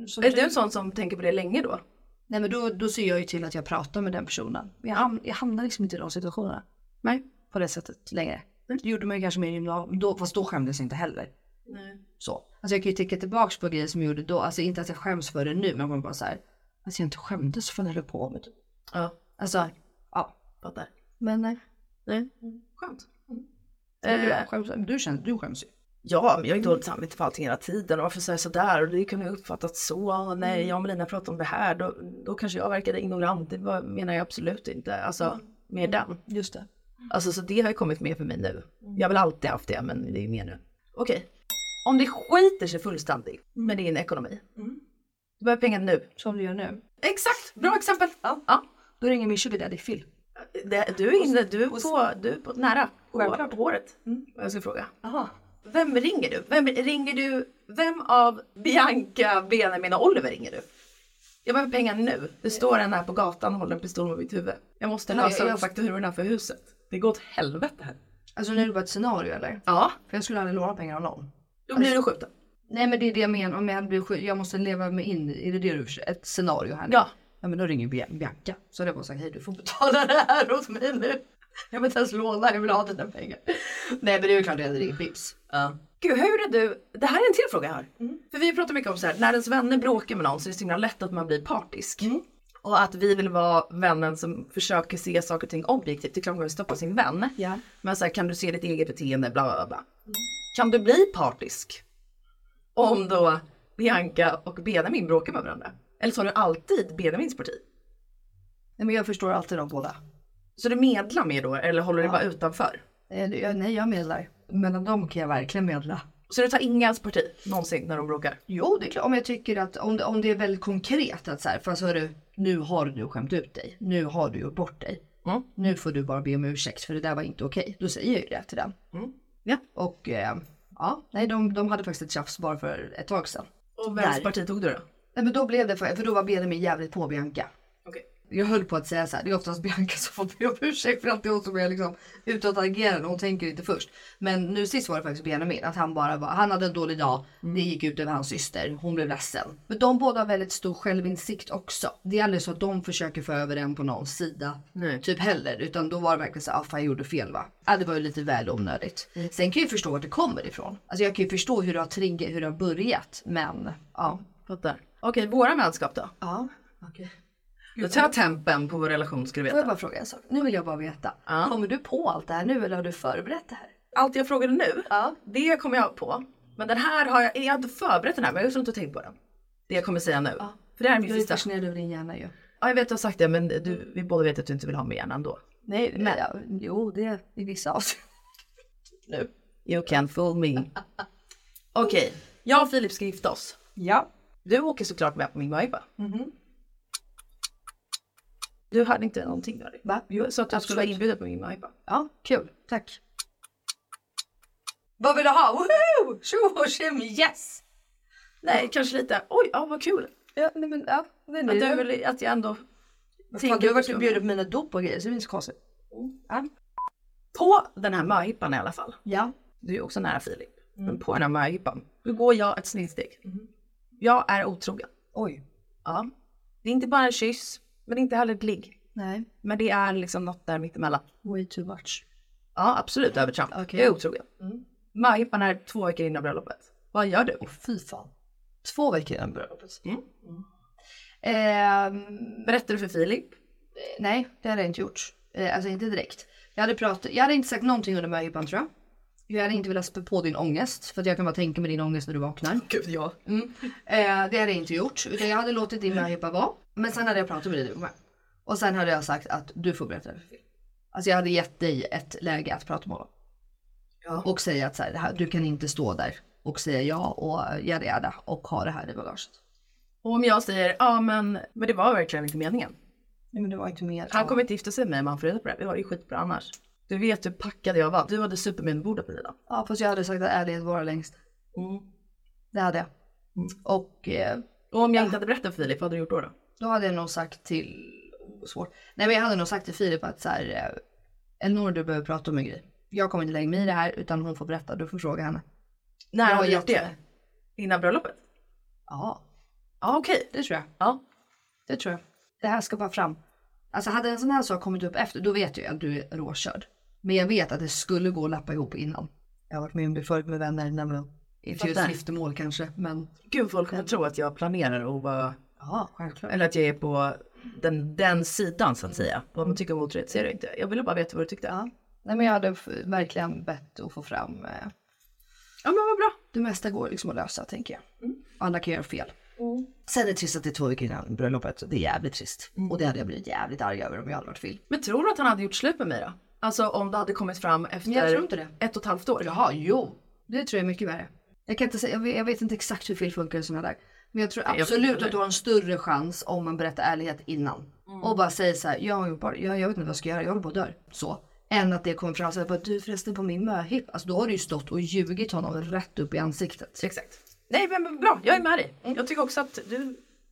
[SPEAKER 2] så
[SPEAKER 3] Är du en sån som tänker på det länge då?
[SPEAKER 2] nej, men då, då ser jag ju till att jag pratar med den personen. Men Jag, ham- jag hamnar liksom inte i de situationerna.
[SPEAKER 3] Nej.
[SPEAKER 2] På det sättet längre. Det gjorde man ju kanske mer i gymnasiet, då- fast då skämdes jag inte heller.
[SPEAKER 3] Nej.
[SPEAKER 2] Så. Alltså jag kan ju tänka tillbaks på grejer som jag gjorde då, alltså inte att jag skäms för det nu, men man bara så här, alltså jag inte skämdes för när jag höll på typ. med det.
[SPEAKER 3] Ja,
[SPEAKER 2] Alltså, ja.
[SPEAKER 3] fattar.
[SPEAKER 2] Men nej.
[SPEAKER 3] Nej. Skönt.
[SPEAKER 2] Eh, skäms, du, känner, du skäms ju.
[SPEAKER 3] Ja, men jag har ju dåligt samvete för allting hela tiden. Och varför säger jag sådär? Och det kunde jag uppfattat så. Och när
[SPEAKER 2] Mm.
[SPEAKER 3] jag och Melina pratade om det här, då, då kanske jag verkade ignorant. Det var, menar jag absolut inte. Alltså, med den.
[SPEAKER 2] Mm. Just det. Mm.
[SPEAKER 3] Alltså så det har ju kommit med för mig nu. Jag har väl alltid haft det men det är mer nu. Okej. Om det skiter sig fullständigt
[SPEAKER 2] Mm.
[SPEAKER 3] med din ekonomi. Du behöver pengar nu.
[SPEAKER 2] Som Mm. du gör nu.
[SPEAKER 3] Exakt, bra exempel.
[SPEAKER 2] Ja.
[SPEAKER 3] Ja.
[SPEAKER 2] Då ringer min sugar daddy Phil.
[SPEAKER 3] Det, du är inne, du är på, du är på nära. På,
[SPEAKER 2] Självklart. Mm.
[SPEAKER 3] på håret. Jag ska fråga.
[SPEAKER 2] Aha.
[SPEAKER 3] Vem ringer du? Vem ringer du? Vem av Bianca, Benjamin och Oliver ringer du? Jag behöver pengar nu. Det står en här på gatan och håller en pistol mot mitt huvud. Jag måste
[SPEAKER 2] Ja, jag-
[SPEAKER 3] lösa
[SPEAKER 2] jag-
[SPEAKER 3] fakturorna för huset. Det går åt helvete här.
[SPEAKER 2] Alltså nu är det bara ett scenario eller?
[SPEAKER 3] Ja,
[SPEAKER 2] För jag skulle aldrig låna pengar av någon. Alltså-
[SPEAKER 3] då blir du skjuten.
[SPEAKER 2] Nej men det är det jag menar. Om jag blir sjuk, jag måste leva mig in i det, det du, ett scenario här nu.
[SPEAKER 3] Ja.
[SPEAKER 2] Ja men då ringer Bian- Bianca. Så hade jag bara sagt hej du får betala det här åt mig nu. Jag vill inte ens låna, jag vill ha dina pengar. Nej men det är ju klart jag hade ringt Bips.
[SPEAKER 3] Ja. Gud, hur är du? Det här är en till fråga jag har. För vi pratar mycket om så här, när ens vänner bråkar med någon så är det så himla lätt att man blir partisk. Och att vi vill vara vännen som försöker se saker och ting objektivt. Det är klart man vill stoppa sin vän.
[SPEAKER 2] Ja.
[SPEAKER 3] Men så här, kan du se ditt eget beteende? Bla, bla, bla. Kan du bli partisk? Om då Bianca och Benjamin bråkar med varandra? Eller tar du alltid Benjamins parti?
[SPEAKER 2] Nej men jag förstår alltid de båda.
[SPEAKER 3] Så du medlar med då eller håller du bara utanför?
[SPEAKER 2] Eh, det- jag- Nej jag medlar. Mellan dem kan jag verkligen medla.
[SPEAKER 3] Så du tar ingens parti någonsin när de bråkar?
[SPEAKER 2] Jo det är klart. Om jag tycker att om det, om det är väldigt konkret att så här, fast hörru, nu har du skämt ut dig. Nu har du gjort bort dig.
[SPEAKER 3] Mm.
[SPEAKER 2] Nu får du bara be om ursäkt för det där var inte okej. Då säger jag ju det till den.
[SPEAKER 3] Ja.
[SPEAKER 2] Och eh, ja, nej de, de hade faktiskt ett tjafs bara för ett tag sedan.
[SPEAKER 3] Och vems
[SPEAKER 2] Där.
[SPEAKER 3] parti tog du då?
[SPEAKER 2] Nej men då blev det för, för då var Benjamin jävligt på Bianca.
[SPEAKER 3] Okej.
[SPEAKER 2] Jag höll på att säga så här, det är oftast Bianca som får be om ursäkt för allt det hon som är liksom utåtagerande, hon tänker inte först. Men nu sist var det faktiskt Benjamin, att han bara var, han hade en dålig dag,
[SPEAKER 3] Mm.
[SPEAKER 2] det gick ut över hans syster, hon blev ledsen. Men de båda har väldigt stor självinsikt också. Det är aldrig så att de försöker få över en på någons sida,
[SPEAKER 3] Nej.
[SPEAKER 2] typ heller. Utan då var det verkligen så här, ah, fan jag gjorde fel va. Ja, det var ju lite väl onödigt.
[SPEAKER 3] Mm.
[SPEAKER 2] Sen kan jag ju förstå vart det kommer ifrån. Alltså jag kan ju förstå hur det har triggat, hur det har börjat, men ja.
[SPEAKER 3] Fattar. Okej, våra vänskap då?
[SPEAKER 2] Ja,
[SPEAKER 3] Då tar jag tempen på vår relation ska du
[SPEAKER 2] Får jag
[SPEAKER 3] veta.
[SPEAKER 2] bara fråga en sak? Nu vill jag bara veta.
[SPEAKER 3] Ja.
[SPEAKER 2] Kommer du på allt det här nu eller har du förberett det här?
[SPEAKER 3] Allt jag frågade nu,
[SPEAKER 2] Ja.
[SPEAKER 3] det kommer jag på. Men den här har jag, jag hade förberett den här men jag har inte tänkt på den. Det jag kommer säga nu.
[SPEAKER 2] Ja.
[SPEAKER 3] För det här är min
[SPEAKER 2] Jag är
[SPEAKER 3] sista.
[SPEAKER 2] fascinerad över din hjärna ju.
[SPEAKER 3] Ja jag vet du har sagt det men du, vi båda vet att du inte vill ha med hjärnan då.
[SPEAKER 2] Nej, men ja, jo det är i vissa avseenden.
[SPEAKER 3] Nu. You can fool me. Okej, jag och Filip ska gifta oss.
[SPEAKER 2] Ja.
[SPEAKER 3] Du åker såklart med på min vibe.
[SPEAKER 2] Mhm.
[SPEAKER 3] Du hade inte någonting där.
[SPEAKER 2] Va?
[SPEAKER 3] Jo, så att du skulle vara
[SPEAKER 2] Absolut.
[SPEAKER 3] inbjuden på min vibe.
[SPEAKER 2] Ja, kul. Tack. Vad vill du ha? Woho! Tjo och tjim, yes!
[SPEAKER 3] Nej, kanske lite. Oj, ja, vad kul.
[SPEAKER 2] Ja, nej men ja. Nej,
[SPEAKER 3] Att,
[SPEAKER 2] nej,
[SPEAKER 3] du,
[SPEAKER 2] jag-
[SPEAKER 3] vill- att jag ändå
[SPEAKER 2] Fan, du har varit
[SPEAKER 3] på-
[SPEAKER 2] bjuden på mina dop och grejer så det är inte så konstigt. Mm.
[SPEAKER 3] På den här möhippan i alla fall.
[SPEAKER 2] Ja. Mm.
[SPEAKER 3] Du är också nära Filip. Men på den här möhippan. Då går jag ett snedsteg. Jag är otrogen.
[SPEAKER 2] Oj.
[SPEAKER 3] Ja. Det är inte bara en kyss. Men det är inte heller ett ligg.
[SPEAKER 2] Nej.
[SPEAKER 3] Men det är liksom något där mittemellan.
[SPEAKER 2] Way too much.
[SPEAKER 3] Ja absolut övertramp.
[SPEAKER 2] Okej.
[SPEAKER 3] Jag är otrogen.
[SPEAKER 2] Mm.
[SPEAKER 3] Möhippan är två veckor innan bröllopet. Vad gör du?
[SPEAKER 2] Åh fy fan. Två veckor innan bröllopet.
[SPEAKER 3] Mm.
[SPEAKER 2] Ehm,
[SPEAKER 3] Berättar du för Filip?
[SPEAKER 2] Eh, Nej, det hade jag inte gjort. Eh, Alltså inte direkt. Jag hade, pratat, jag hade inte sagt någonting under möhippan tror jag. Jag hade inte velat spä på din ångest, för att jag kan bara tänka mig din ångest när du vaknar.
[SPEAKER 3] Gud ja.
[SPEAKER 2] Eh, det hade jag inte gjort, utan jag hade låtit din möhippa vara. Men sen hade jag pratat med dig du med. Och sen hade jag sagt att du får berätta det för Phil. Alltså jag hade gett dig ett läge att prata med honom.
[SPEAKER 3] Ja.
[SPEAKER 2] Och säga att så här, det här, du kan inte stå där och säga ja och eh, yada yada och ha det här i bagaget.
[SPEAKER 3] Och om jag säger ja men, men det var verkligen inte meningen.
[SPEAKER 2] Nej men det var inte mer.
[SPEAKER 3] Han kommer inte gifta sig med mig om han får reda på det. här. Vi har det ju skitbra annars. Du vet hur packad jag var. Du hade supermedbordet på dina.
[SPEAKER 2] Ja fast jag hade sagt att ärlighet var längst. Det hade jag. Och eh,
[SPEAKER 3] Mm. Och om jag inte hade berättat för Filip, vad hade du gjort då? då?
[SPEAKER 2] Då hade jag nog sagt till... oh, Svårt. Nej men jag hade nog sagt till Filip att så här, eh, Elinor du behöver prata om en grej. Jag kommer inte lägga mig i det här utan hon får berätta, du får fråga henne.
[SPEAKER 3] När
[SPEAKER 2] Jag
[SPEAKER 3] hade du
[SPEAKER 2] gett
[SPEAKER 3] gjort det?
[SPEAKER 2] mig.
[SPEAKER 3] Innan bröllopet?
[SPEAKER 2] Ja,
[SPEAKER 3] Ja okej.
[SPEAKER 2] det tror jag.
[SPEAKER 3] Ja.
[SPEAKER 2] Det tror jag. Det här ska bara fram. Alltså hade en sån här sak kommit upp efter, då vet jag att du är råkörd. Men jag vet att det skulle gå att lappa ihop innan. Jag har varit med om det förut med vänner, nämligen. Inte just
[SPEAKER 3] Fattar.
[SPEAKER 2] giftermål kanske, men
[SPEAKER 3] Gud folk kommer tro att jag planerar och vara,
[SPEAKER 2] ja, självklart.
[SPEAKER 3] eller att jag är på den, den sidan så att säga. Vad man tycker om otrohet ser jag inte. Jag ville bara veta vad du tyckte.
[SPEAKER 2] Ja. Nej men jag hade f- verkligen bett att få fram eh,
[SPEAKER 3] Ja men vad bra. Mm.
[SPEAKER 2] Det mesta går liksom att lösa tänker jag. Alla kan göra fel. Sen är det trist att det är två veckor innan bröllopet. Det är jävligt trist. Och det hade jag blivit jävligt arg över om jag hade varit Phil.
[SPEAKER 10] Men tror du att han hade gjort slut med mig då? Alltså om det hade kommit fram efter
[SPEAKER 2] Jag tror inte det.
[SPEAKER 10] ett och ett halvt år?
[SPEAKER 2] Jaha, jo. Det tror jag är mycket värre. Jag, kan inte säga, jag, vet, jag vet inte exakt hur Phil funkar i sådana där. Men jag tror
[SPEAKER 10] Nej, jag
[SPEAKER 2] absolut
[SPEAKER 10] förstår Mm.
[SPEAKER 2] att du har en större chans om man berättar ärlighet innan. Och bara säger så här, jag, har gjort bara- jag, jag vet inte vad jag ska göra, jag håller på att dö. Så. Än att det kommer fram så här, bara, du förresten på min möhipp. Alltså då har du ju stått och ljugit honom rätt upp i ansiktet.
[SPEAKER 10] Exakt. Nej men- men bra, jag är med dig. Jag tycker också att du...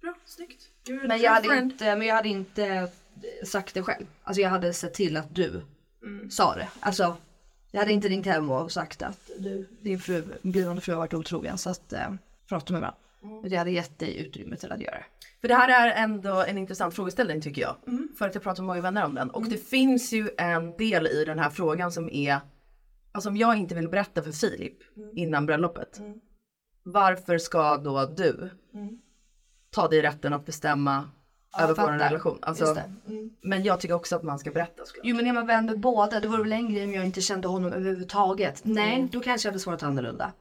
[SPEAKER 10] Bra, snyggt. You're
[SPEAKER 2] Men jag, hade
[SPEAKER 10] different.
[SPEAKER 2] inte, men jag hade inte sagt det själv. Alltså jag hade sett till att du
[SPEAKER 10] Mm.
[SPEAKER 2] sa det. Alltså jag hade inte ringt hem och sagt att du, din fru, blivande fru har varit otrogen så att eh, prata med varandra.
[SPEAKER 10] Mm.
[SPEAKER 2] Men jag hade gett dig utrymme till att göra det.
[SPEAKER 10] För det här är ändå en intressant frågeställning tycker jag. För att jag pratar med många vänner om den. Och det finns ju en del i den här frågan som är, alltså om jag inte vill berätta för Filip
[SPEAKER 2] Mm.
[SPEAKER 10] innan bröllopet. Varför ska då du ta dig rätten att bestämma
[SPEAKER 2] Mm. Ja,
[SPEAKER 10] över
[SPEAKER 2] jag
[SPEAKER 10] vår
[SPEAKER 2] fattar.
[SPEAKER 10] relation? Alltså,
[SPEAKER 2] Just det. Mm.
[SPEAKER 10] men jag tycker också att man ska berätta. Skulle
[SPEAKER 2] Jo men är man vän med båda, det vore väl en grej om jag inte kände honom överhuvudtaget. Nej,
[SPEAKER 10] Mm.
[SPEAKER 2] då kanske jag hade svarat annorlunda.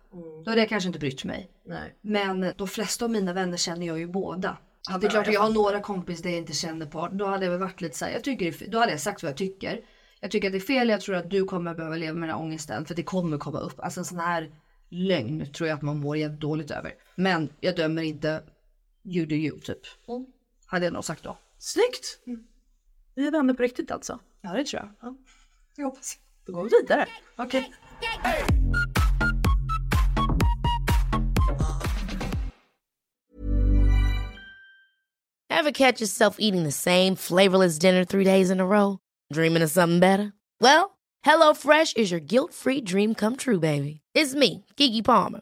[SPEAKER 2] Då hade jag kanske inte brytt mig.
[SPEAKER 10] jag. Nej.
[SPEAKER 2] Men de flesta av mina vänner känner jag ju båda.
[SPEAKER 10] Ja,
[SPEAKER 2] det är
[SPEAKER 10] bra,
[SPEAKER 2] klart
[SPEAKER 10] jag
[SPEAKER 2] att jag har några kompisar där jag inte känner på. Då hade jag väl varit lite så här, jag tycker, det är- då hade jag sagt vad jag tycker. Jag tycker att det är fel, jag tror att du kommer behöva leva med den här ångesten för det kommer komma upp. Alltså en sån här lögn tror jag att man mår jävligt dåligt över. Men jag dömer inte, you do you typ.
[SPEAKER 10] Mm.
[SPEAKER 2] Hade jag nog sagt då.
[SPEAKER 10] Snyggt! Vi är vänner på riktigt alltså.
[SPEAKER 2] Ja det tror jag. Jag hoppas.
[SPEAKER 10] Då går vi vidare.
[SPEAKER 2] Okej.
[SPEAKER 11] Ever catch yourself eating the same flavorless dinner three days in a row? Dreaming of something better? Well, HelloFresh is your guilt free dream come true, baby. It's me, Kiki Palmer.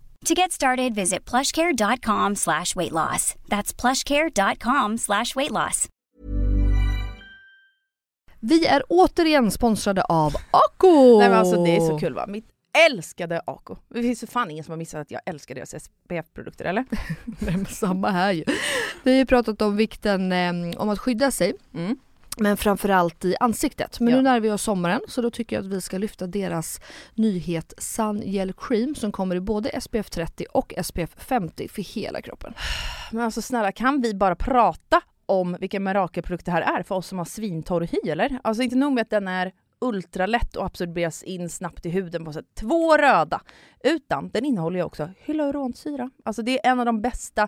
[SPEAKER 12] To get started, visit plushcare.com slash weight loss. That's plushcare.com slash weight loss.
[SPEAKER 13] Vi är återigen sponsrade av Ako!
[SPEAKER 3] Nej men alltså det är så kul va. Mitt älskade Ako. Det finns ju fan ingen som har missat att jag älskar deras SPF-produkter eller?
[SPEAKER 13] Nej, men samma här ju. Vi har ju pratat om vikten eh, om att skydda sig.
[SPEAKER 3] Mm.
[SPEAKER 13] Men framförallt i ansiktet. Men nu när vi har sommaren så då tycker jag att vi ska lyfta deras nyhet Sun Gel Cream som kommer i både SPF 30 och SPF 50 för hela kroppen.
[SPEAKER 3] Men alltså snälla kan vi bara prata om vilken mirakelprodukt det här är för oss som har svintorr hy eller? Alltså inte nog med att den är ultralätt och absorberas in snabbt i huden på så här två röda. Utan den innehåller ju också hyaluronsyra. Alltså det är en av de bästa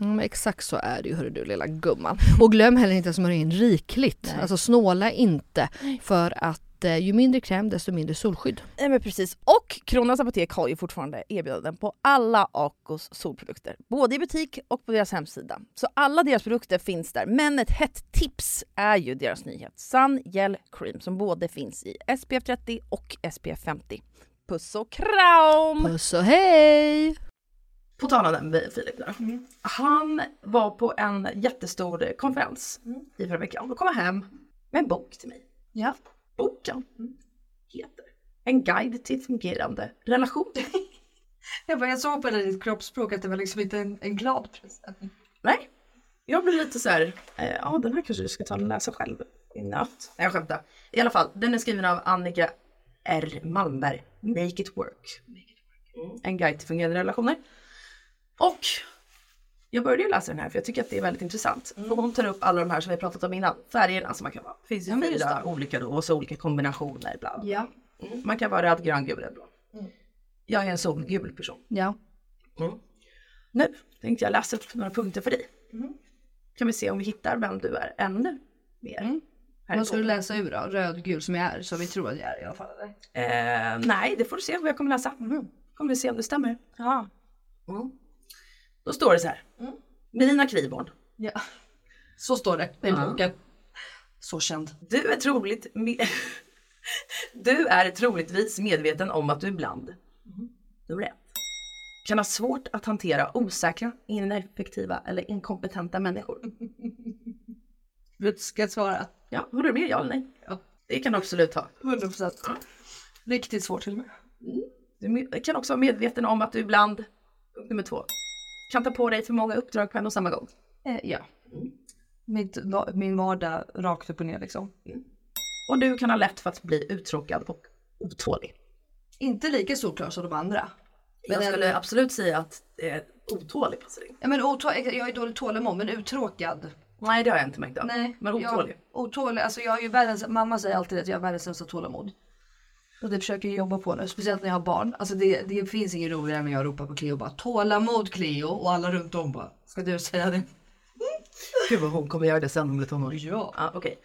[SPEAKER 13] Mm, exakt så är det ju hörru du lilla gumman. Och glöm heller inte att smörja in rikligt. Alltså snåla inte för att
[SPEAKER 14] att eh, ju mindre kräm desto mindre solskydd.
[SPEAKER 15] Ja, men precis. Och Kronans Apotek har ju fortfarande erbjudanden på alla Acos solprodukter. Både i butik och på deras hemsida. Så alla deras produkter finns där. Men ett hett tips är ju deras nyhet. Sun Gel Cream som både finns i SPF 30 och SPF 50. Puss och kram!
[SPEAKER 14] Puss och hej!
[SPEAKER 3] På tal om den med Filip nu. Han var på en jättestor konferens i förra veckan och kom hem med en bok till mig. Ja. Boken heter En guide till fungerande relation.
[SPEAKER 16] Jag, bara, jag såg på ditt kroppsspråk att det var liksom inte en, en glad present.
[SPEAKER 3] Nej. Jag blev lite så här, eh, ja den här kanske du ska ta och läsa själv i natt. Nej jag skämtar. I alla fall, den är skriven av Annika R Malmberg, Make it work.
[SPEAKER 9] Mm-hmm.
[SPEAKER 3] En guide till fungerande relationer. Och jag började ju läsa den här för jag tycker att det är väldigt intressant. För hon tar upp alla de här som vi har pratat om innan, färgerna som man kan vara. Mm. Det finns ju
[SPEAKER 2] men just
[SPEAKER 3] fyra
[SPEAKER 2] det.
[SPEAKER 3] olika då och så olika kombinationer ibland.
[SPEAKER 2] Ja.
[SPEAKER 3] Man kan vara röd, grön, gul eller blå.
[SPEAKER 2] Mm.
[SPEAKER 3] Jag är en solgul person.
[SPEAKER 2] Ja.
[SPEAKER 3] Mm. Nu tänkte jag läsa upp några punkter för dig.
[SPEAKER 2] Mm.
[SPEAKER 3] Kan vi se om vi hittar vem du är ännu mer. Här är
[SPEAKER 2] Vad ska du
[SPEAKER 3] boken.
[SPEAKER 2] läsa ur då? Röd, gul som jag är, som vi tror att jag är i alla fall. eller?
[SPEAKER 3] Eh, nej, det får du se vad jag kommer läsa. Mm. Kommer vi se om det stämmer. Ja. Mm. Då står det så här. Melina Kriborn.
[SPEAKER 2] Ja. Mm. Så står det i
[SPEAKER 3] Ja.
[SPEAKER 2] boken. Så känd.
[SPEAKER 3] Du är troligt... me- du är troligtvis medveten om att du ibland,
[SPEAKER 2] Mm-hmm.
[SPEAKER 3] nummer ett, kan ha svårt att hantera osäkra, ineffektiva eller inkompetenta människor.
[SPEAKER 2] Ska jag svara?
[SPEAKER 3] Ja, håller du med? Ja eller nej?
[SPEAKER 2] Ja.
[SPEAKER 3] Det kan du absolut ha.
[SPEAKER 2] 100%. Mm-hmm. Riktigt svårt till och med.
[SPEAKER 3] Mm. Du me- kan också vara medveten om att du ibland, punkt nummer två, kan ta på dig för många uppdrag på en och samma gång.
[SPEAKER 2] Eh, ja. Mitt, va- min vardag rakt upp och ner liksom.
[SPEAKER 3] Och du kan ha lätt för att bli uttråkad och otålig.
[SPEAKER 2] Inte lika solklar som de andra.
[SPEAKER 3] jag skulle absolut säga att det är otålig passar in.
[SPEAKER 2] Ja, men otå- jag är dålig tålamod men uttråkad.
[SPEAKER 3] Nej det har jag inte märkt av.
[SPEAKER 2] Nej,
[SPEAKER 3] Men otålig.
[SPEAKER 2] Jag, otålig. Alltså jag är ju världens, mamma säger alltid att jag har världens sämsta tålamod. Och det försöker jag jobba på nu, speciellt när jag har barn. Alltså det, det finns inget roligare än när jag ropar på Cleo och bara tålamod Cleo och alla runt om bara ska du säga det?
[SPEAKER 3] Gud vad hon kommer göra det sen om lite tonår. Ja. Ah, Okej.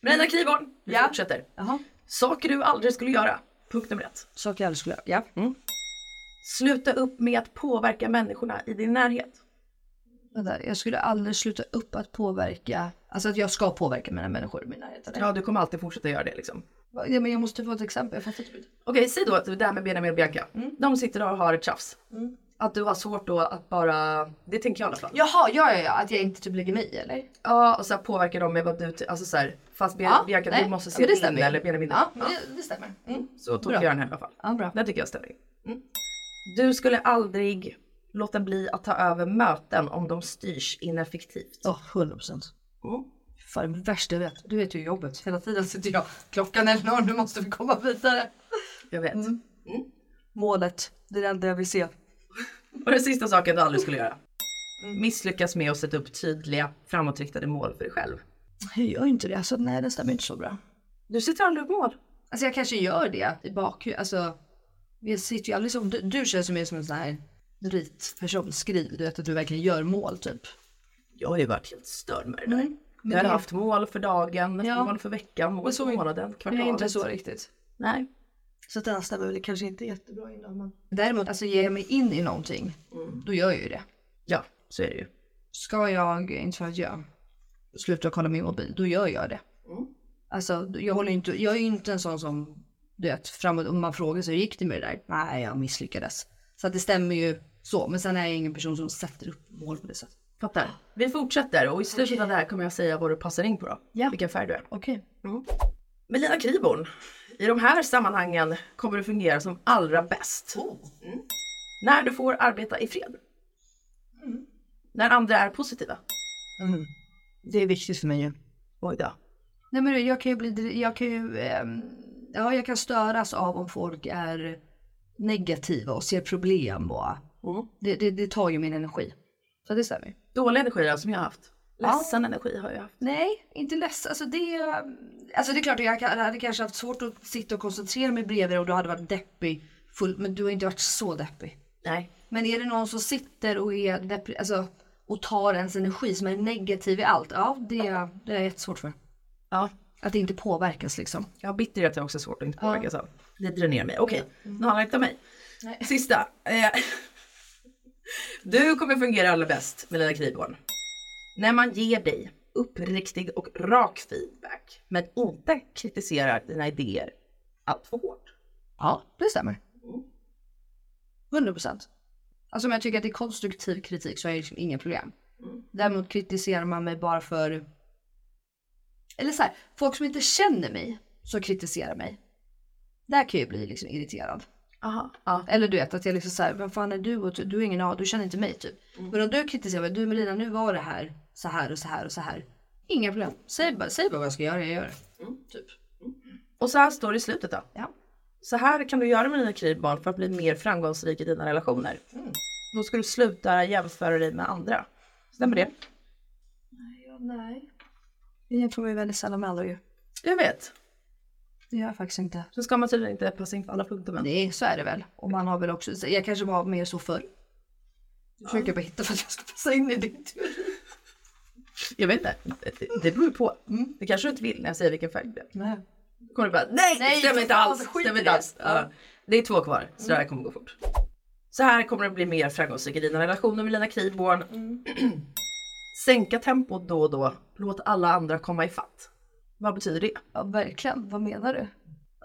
[SPEAKER 3] Melina Kriborn, vi fortsätter. Saker du aldrig skulle göra. Punkt nummer ett.
[SPEAKER 2] Saker jag aldrig skulle göra. Ja. Mm.
[SPEAKER 3] Sluta upp med att påverka människorna i din närhet.
[SPEAKER 2] Vänta, jag skulle aldrig sluta upp att påverka, alltså att jag ska påverka mina människor i min närhet. eller?
[SPEAKER 3] Ja, du kommer alltid fortsätta göra det liksom.
[SPEAKER 2] Va- Ja, men jag måste få ett exempel, jag fattar inte.
[SPEAKER 3] Okej, säg då att det där med Benjamin och Bianca.
[SPEAKER 2] Mm.
[SPEAKER 3] De sitter och har ett tjafs. Att du har svårt då att bara, det tänker jag i alla fall.
[SPEAKER 2] Jaha, ja, ja, ja, att jag inte typ lägger mig i eller?
[SPEAKER 3] Ja, och så här påverkar de med vad du, ty- alltså så här, fast Be-
[SPEAKER 2] Ja,
[SPEAKER 3] Bianca
[SPEAKER 2] nej.
[SPEAKER 3] du måste
[SPEAKER 2] Ja,
[SPEAKER 3] se
[SPEAKER 2] men det
[SPEAKER 3] in
[SPEAKER 2] stämmer.
[SPEAKER 3] eller Benjamin.
[SPEAKER 2] Ja, men det, det stämmer. Mm.
[SPEAKER 3] Så tog
[SPEAKER 2] Bra.
[SPEAKER 3] jag den här i alla fall.
[SPEAKER 2] Ja, bra.
[SPEAKER 3] Den tycker jag stämmer. Mm. Du skulle aldrig låta bli att ta över möten om de styrs ineffektivt. Mm.
[SPEAKER 2] Ja, 100 procent. Fan, det värsta jag vet. Du vet ju jobbet. Hela tiden sitter jag. Klockan är enorm, nu måste vi komma vidare. Mm.
[SPEAKER 3] Jag vet. Mm.
[SPEAKER 2] Målet, det är det enda jag vill se.
[SPEAKER 3] Och den sista saken du aldrig skulle göra.
[SPEAKER 2] Mm.
[SPEAKER 3] Misslyckas med att sätta upp tydliga framåtriktade mål för dig själv.
[SPEAKER 2] Jag gör inte det, alltså nej det stämmer inte så bra.
[SPEAKER 3] Du sitter aldrig upp mål.
[SPEAKER 2] Alltså jag kanske gör det i bakhuvudet, alltså. Jag sitter ju aldrig som, du, du känns ju mer som en sån här ritperson, skriv, du vet att du verkligen gör mål typ.
[SPEAKER 3] Jag har ju varit helt störd med det där.
[SPEAKER 2] Mm.
[SPEAKER 3] jag har haft mål för dagen,
[SPEAKER 2] Ja.
[SPEAKER 3] mål för veckan, mål
[SPEAKER 2] Men så
[SPEAKER 3] för
[SPEAKER 2] är-
[SPEAKER 3] månaden,
[SPEAKER 2] Jag
[SPEAKER 3] kvartalet.
[SPEAKER 2] är inte så riktigt.
[SPEAKER 3] Nej.
[SPEAKER 2] Så att den här stämmer väl kanske inte jättebra in men... Däremot, alltså ger jag mig in i någonting, då gör jag ju det.
[SPEAKER 3] Ja, så är det ju.
[SPEAKER 2] Mm. Ska jag, inte för att jag slutar kolla min mobil, då gör jag det. Alltså jag håller ju inte, jag är ju inte en sån som, du vet, framåt, om man frågar sig hur gick det med det där? Nej, jag misslyckades. Så att det stämmer ju så, men sen är jag ingen person som sätter upp mål på det sättet.
[SPEAKER 3] Fattar. Vi fortsätter och i slutet av det här kommer jag säga vad du passar in på då.
[SPEAKER 2] Ja.
[SPEAKER 3] Vilken färg du är. Mm.
[SPEAKER 2] Okej.
[SPEAKER 3] Melina Kriborn, i de här sammanhangen kommer du fungera som allra bäst.
[SPEAKER 2] Oh.
[SPEAKER 3] Mm. När du får arbeta i fred.
[SPEAKER 2] Mm.
[SPEAKER 3] När andra är positiva.
[SPEAKER 2] Det är viktigt för mig ju.
[SPEAKER 3] Oj då.
[SPEAKER 2] Nej men jag kan ju bli, jag kan ju, ehm, ja jag kan störas av om folk är negativa och ser problem bara.
[SPEAKER 3] Mm.
[SPEAKER 2] Det, det, det tar ju min energi. Så det stämmer.
[SPEAKER 3] Dålig energi då, som jag har haft. Ledsen energi har jag haft.
[SPEAKER 2] Nej, inte ledsen. Alltså det, alltså det är klart att jag kan- hade kanske haft svårt att sitta och koncentrera mig bredvid dig och du hade varit deppig. Full, men du har inte varit så deppig.
[SPEAKER 3] Nej.
[SPEAKER 2] Men är det någon som sitter och är deppig, alltså och tar ens energi som är negativ i allt. Ja, det, det är jag jättesvårt för.
[SPEAKER 3] Ja.
[SPEAKER 2] Att det inte påverkas liksom.
[SPEAKER 3] Ja, bitterhet är också svårt att inte påverkas av. Det dränerar mig. Okej,
[SPEAKER 2] Mm.
[SPEAKER 3] nu handlar det inte om mig. Sista. Eh, Du kommer fungera allra bäst med dina knivbarn. När man ger dig uppriktig och rak feedback men inte kritiserar dina idéer allt för hårt.
[SPEAKER 2] Ja, det stämmer. 100 procent. Alltså om jag tycker att det är konstruktiv kritik så är det liksom inga problem.
[SPEAKER 3] Mm.
[SPEAKER 2] Däremot kritiserar man mig bara för... Eller så här, folk som inte känner mig som kritiserar mig. Där kan jag ju bli liksom irriterad.
[SPEAKER 3] Aha.
[SPEAKER 2] Ja, eller du vet att jag liksom såhär, vem fan är du och du är ingen av, du känner inte mig typ. Men om du kritiserar mig, du Melina nu var det här, så här och så här och så här. Inga problem, säg bara, säg bara vad jag ska göra, jag gör det. Typ.
[SPEAKER 3] Och så här står det i slutet då. Så här kan du göra med dina knivbarn för att bli mer framgångsrik i dina relationer.
[SPEAKER 2] Mm.
[SPEAKER 3] Då ska du sluta jämföra dig med andra. Stämmer det?
[SPEAKER 2] Ja, nej. Jag jämför mig väldigt sällan med andra ju.
[SPEAKER 3] Jag vet.
[SPEAKER 2] Det gör jag faktiskt inte.
[SPEAKER 3] Så ska man tydligen inte passa in på alla punkter men.
[SPEAKER 2] Nej, så är det väl. Och man har väl också, så jag kanske var mer så förr. Jag försöker bara hitta för att jag ska passa in i din teori.
[SPEAKER 3] Jag vet inte. Det- Det beror ju på. Det kanske du inte vill när jag säger vilken färg det är.
[SPEAKER 2] Mm. Nej.
[SPEAKER 3] Då kommer du bara nej,
[SPEAKER 2] Nej,
[SPEAKER 3] det stämmer inte
[SPEAKER 2] fan,
[SPEAKER 3] alls.
[SPEAKER 2] skit
[SPEAKER 3] Stämmer
[SPEAKER 2] i
[SPEAKER 3] inte
[SPEAKER 2] det.
[SPEAKER 3] alls. Ja. Det är två kvar så det här kommer gå fort. Så här kommer det bli mer framgångsrik i dina relationer med dina kriborn.
[SPEAKER 2] Mm.
[SPEAKER 3] Sänka tempot då och då. Låt alla andra komma ifatt. Vad betyder det?
[SPEAKER 2] Ja verkligen, vad menar du?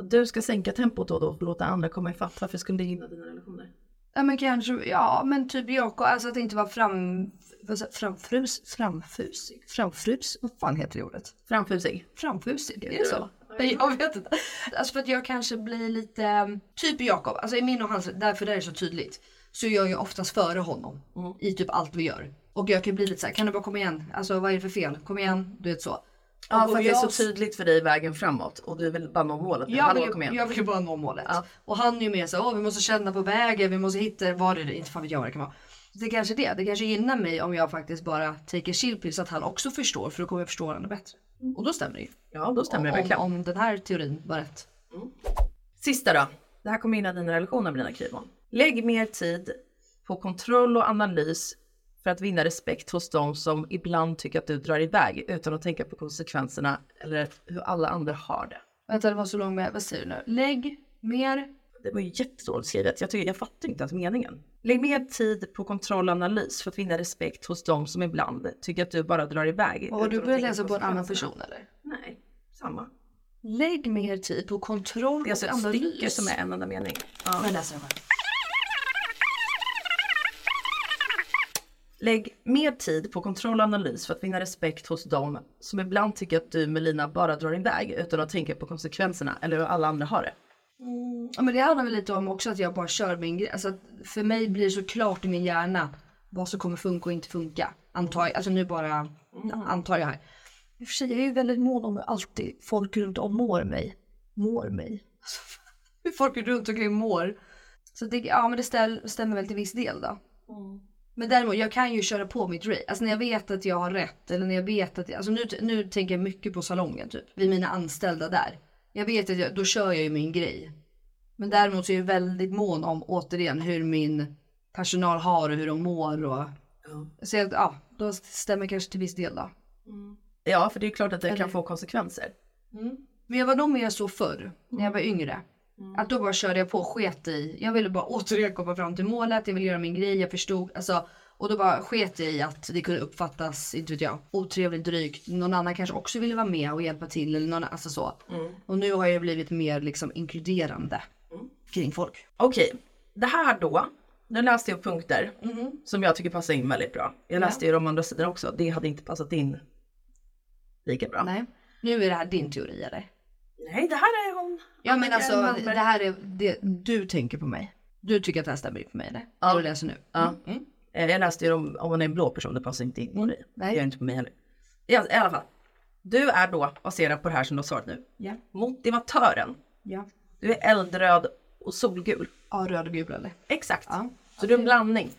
[SPEAKER 3] Att du ska sänka tempot då och då och låta andra komma ifatt. Varför skulle det gynna dina relationer?
[SPEAKER 2] Ja men kanske, ja men typ Jakob, alltså att inte vara fram, vad sa- framfrus, framfusig, framfrus, vad fan heter det ordet?
[SPEAKER 3] Framfusig.
[SPEAKER 2] Framfusig, är
[SPEAKER 3] Heter
[SPEAKER 2] det
[SPEAKER 3] det
[SPEAKER 2] så? Nej, Jag vet inte. Alltså för att jag kanske blir lite, um, typ Jakob, alltså i min och hans, därför det är så tydligt, så är jag ju oftast före honom
[SPEAKER 3] Mm.
[SPEAKER 2] i typ allt vi gör. Och jag kan bli lite så här, kan du bara komma igen, alltså vad är det för fel, kom igen, du vet så.
[SPEAKER 3] Ja
[SPEAKER 2] Och
[SPEAKER 3] för att det är
[SPEAKER 2] jag-
[SPEAKER 3] så tydligt för dig vägen framåt och du vill bara nå målet. nu.
[SPEAKER 2] jag
[SPEAKER 3] Hallå,
[SPEAKER 2] vill,
[SPEAKER 3] kom igen.
[SPEAKER 2] ju, jag vill ju bara nå målet. Och han är ju mer såhär, åh vi måste känna på vägen, vi måste hitta, vad är det, inte fan vet jag vad det kan vara. Så det är kanske är det, det kanske gynnar mig om jag faktiskt bara take a chill pill så att han också förstår för då kommer jag förstå varandra bättre. Och då stämmer det ju.
[SPEAKER 3] Mm. Ja då stämmer det
[SPEAKER 2] om,
[SPEAKER 3] verkligen.
[SPEAKER 2] Om, om den här teorin var rätt.
[SPEAKER 3] Mm. Sista då. Det här kommer in i dina relationer med dina krypon. Lägg mer tid på kontroll och analys för att vinna respekt hos de som ibland tycker att du drar iväg utan att tänka på konsekvenserna eller hur alla andra har det.
[SPEAKER 2] Vänta det var så lång med, vad säger du nu? Lägg mer.
[SPEAKER 3] Det var ju jättedåligt skrivet. Jag, tycker, jag fattar inte ens meningen. Lägg mer tid på kontroll och analys för att vinna respekt hos de som ibland tycker att du bara drar iväg.
[SPEAKER 2] Och
[SPEAKER 3] utan
[SPEAKER 2] du
[SPEAKER 3] att
[SPEAKER 2] börjar
[SPEAKER 3] tänka
[SPEAKER 2] läsa på en annan
[SPEAKER 3] konsekvenserna.
[SPEAKER 2] person eller?
[SPEAKER 3] Nej, samma.
[SPEAKER 2] Lägg mer tid på kontroll
[SPEAKER 3] Det är alltså
[SPEAKER 2] och
[SPEAKER 3] ett
[SPEAKER 2] analys.
[SPEAKER 3] stycke som är en enda mening. Ja.
[SPEAKER 2] Jag läser det själv.
[SPEAKER 3] Lägg mer tid på kontroll och analys för att vinna respekt hos dem som ibland tycker att du Melina bara drar iväg utan att tänka på konsekvenserna eller hur alla andra har det. Mm.
[SPEAKER 2] Ja, men det handlar väl lite om också att jag bara kör min grej. Alltså, att för mig blir det så klart i min hjärna vad som kommer funka och inte funka. Antar jag. Alltså nu bara
[SPEAKER 3] Mm.
[SPEAKER 2] ja, antar jag här. I och för sig, jag är ju väldigt mån om hur alltid folk runt om mår mig. Mår mig. Alltså, hur folk runt omkring mår. Så det, ja, men det ställ, stämmer väl till viss del då. Men däremot, jag kan ju köra på mitt race. Alltså när jag vet att jag har rätt eller när jag vet att... Jag, alltså nu, nu tänker jag mycket på salongen typ. Vid mina anställda där. Jag vet att jag, då kör jag ju min grej. Men däremot så är jag väldigt mån om återigen hur min personal har och hur de mår och... Så jag, ja, då stämmer kanske till viss del då.
[SPEAKER 9] Mm-hmm.
[SPEAKER 3] Ja, för det är klart att det
[SPEAKER 2] Eller-
[SPEAKER 3] kan få konsekvenser. Mm.
[SPEAKER 2] Men jag var nog mer så förr, när jag var yngre. Att då bara körde jag på och sket i. Jag ville bara återigen komma fram till målet, jag ville göra min grej, jag förstod. Alltså, och då bara sket jag i att det kunde uppfattas, inte vet jag, otrevligt drygt. Någon annan kanske också ville vara med och hjälpa till eller någon, alltså så. Och nu har jag blivit mer liksom inkluderande kring folk.
[SPEAKER 3] Okej, det här då. Nu läste jag punkter
[SPEAKER 9] Mm-hmm.
[SPEAKER 3] som jag tycker passar in väldigt bra. Jag läste ju de andra sidorna också. Det hade inte passat in lika bra.
[SPEAKER 2] Nej. Nu är det här din teori eller?
[SPEAKER 3] Nej, det här är hon.
[SPEAKER 2] Ja men
[SPEAKER 3] Annika
[SPEAKER 2] alltså
[SPEAKER 3] Malmberg.
[SPEAKER 2] det här är det du tänker på mig. Du tycker att det här stämmer på mig eller? Ja. Du läser nu.
[SPEAKER 3] Ja.
[SPEAKER 2] mm.
[SPEAKER 3] Eh, Jag läste ju om, om man är en blå person, det passar inte in på dig. Det gör inte på mig heller. I all- I alla fall. Du är då, baserat på det här som du har svarat nu,
[SPEAKER 2] Ja.
[SPEAKER 3] motivatören.
[SPEAKER 2] Ja.
[SPEAKER 3] Du är eldröd och solgul.
[SPEAKER 2] Ja, röd och gul eller?
[SPEAKER 3] Exakt. Så du är en blandning.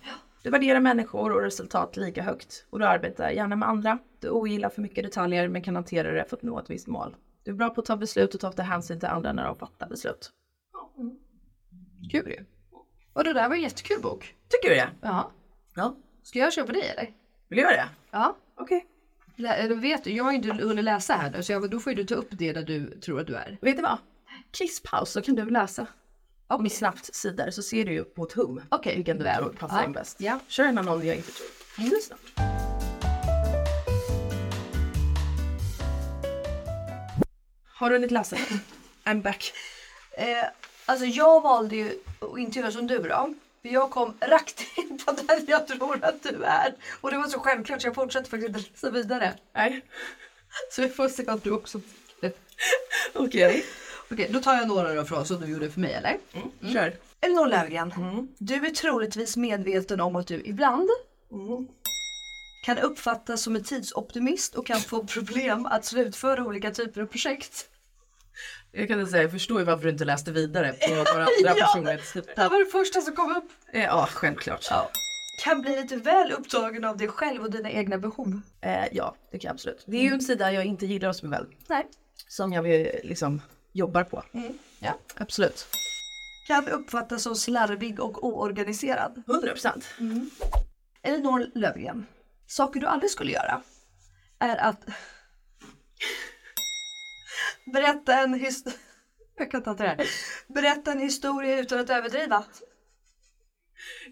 [SPEAKER 3] Du värderar människor och resultat lika högt och du arbetar gärna med andra. Du ogillar för mycket detaljer men kan hantera det för att nå ett visst mål. Du är bra på att ta beslut och ta ofta hänsyn till andra när de fattar beslut.
[SPEAKER 2] Kul ju. Mm. Och det där var en jättekul bok.
[SPEAKER 3] Tycker du det?
[SPEAKER 2] Ja.
[SPEAKER 3] Ja.
[SPEAKER 2] Ska jag köpa dig eller?
[SPEAKER 3] Vill du göra det?
[SPEAKER 2] Ja.
[SPEAKER 3] Okej.
[SPEAKER 17] Lä- eller Vet du, jag har ju inte hunnit läsa här nu så jag, då får ju du ta upp det där du tror att du är.
[SPEAKER 3] Vet du vad? Kisspaus så kan du läsa. Okay. Med snabbt sidor så ser du ju på ett hum vilken du tror passar in bäst. Kör en annan jag inte tror. Mm. Har du hunnit läsa? I'm back.
[SPEAKER 2] Eh, alltså jag valde ju att inte göra som du då. För jag kom rakt in på där jag tror att du är. Och det var så självklart så jag fortsatte faktiskt inte läsa vidare.
[SPEAKER 3] Nej.
[SPEAKER 2] Så vi får se om du också tycker det.
[SPEAKER 3] Okej.
[SPEAKER 2] Okej, då tar jag några då från som du gjorde för mig eller?
[SPEAKER 3] Mm. Kör. Mm.
[SPEAKER 2] Elinor Löfgren, du är troligtvis medveten om att du ibland
[SPEAKER 3] Mm.
[SPEAKER 2] kan uppfattas som en tidsoptimist och kan få problem att slutföra olika typer av projekt.
[SPEAKER 3] Jag kan inte säga, jag förstår ju varför du inte läste vidare på några andra
[SPEAKER 2] Ja,
[SPEAKER 3] personlighetstyper.
[SPEAKER 2] Det här var det första som kom upp.
[SPEAKER 3] Eh, Ja, självklart. Ja.
[SPEAKER 2] Kan bli lite väl upptagen av dig själv och dina egna behov.
[SPEAKER 3] Eh, ja, det kan jag absolut. Det är ju en sida jag inte gillar hos mig själv.
[SPEAKER 2] Nej.
[SPEAKER 3] Som jag vill, liksom jobbar på.
[SPEAKER 2] Ja.
[SPEAKER 3] Absolut.
[SPEAKER 2] Kan uppfattas som slarvig och oorganiserad.
[SPEAKER 3] 100%.
[SPEAKER 2] Mm. Elinor Löfgren. Saker du aldrig skulle göra är att berätta en historia jag kan inte hantera det här. Berätta en historia utan att överdriva.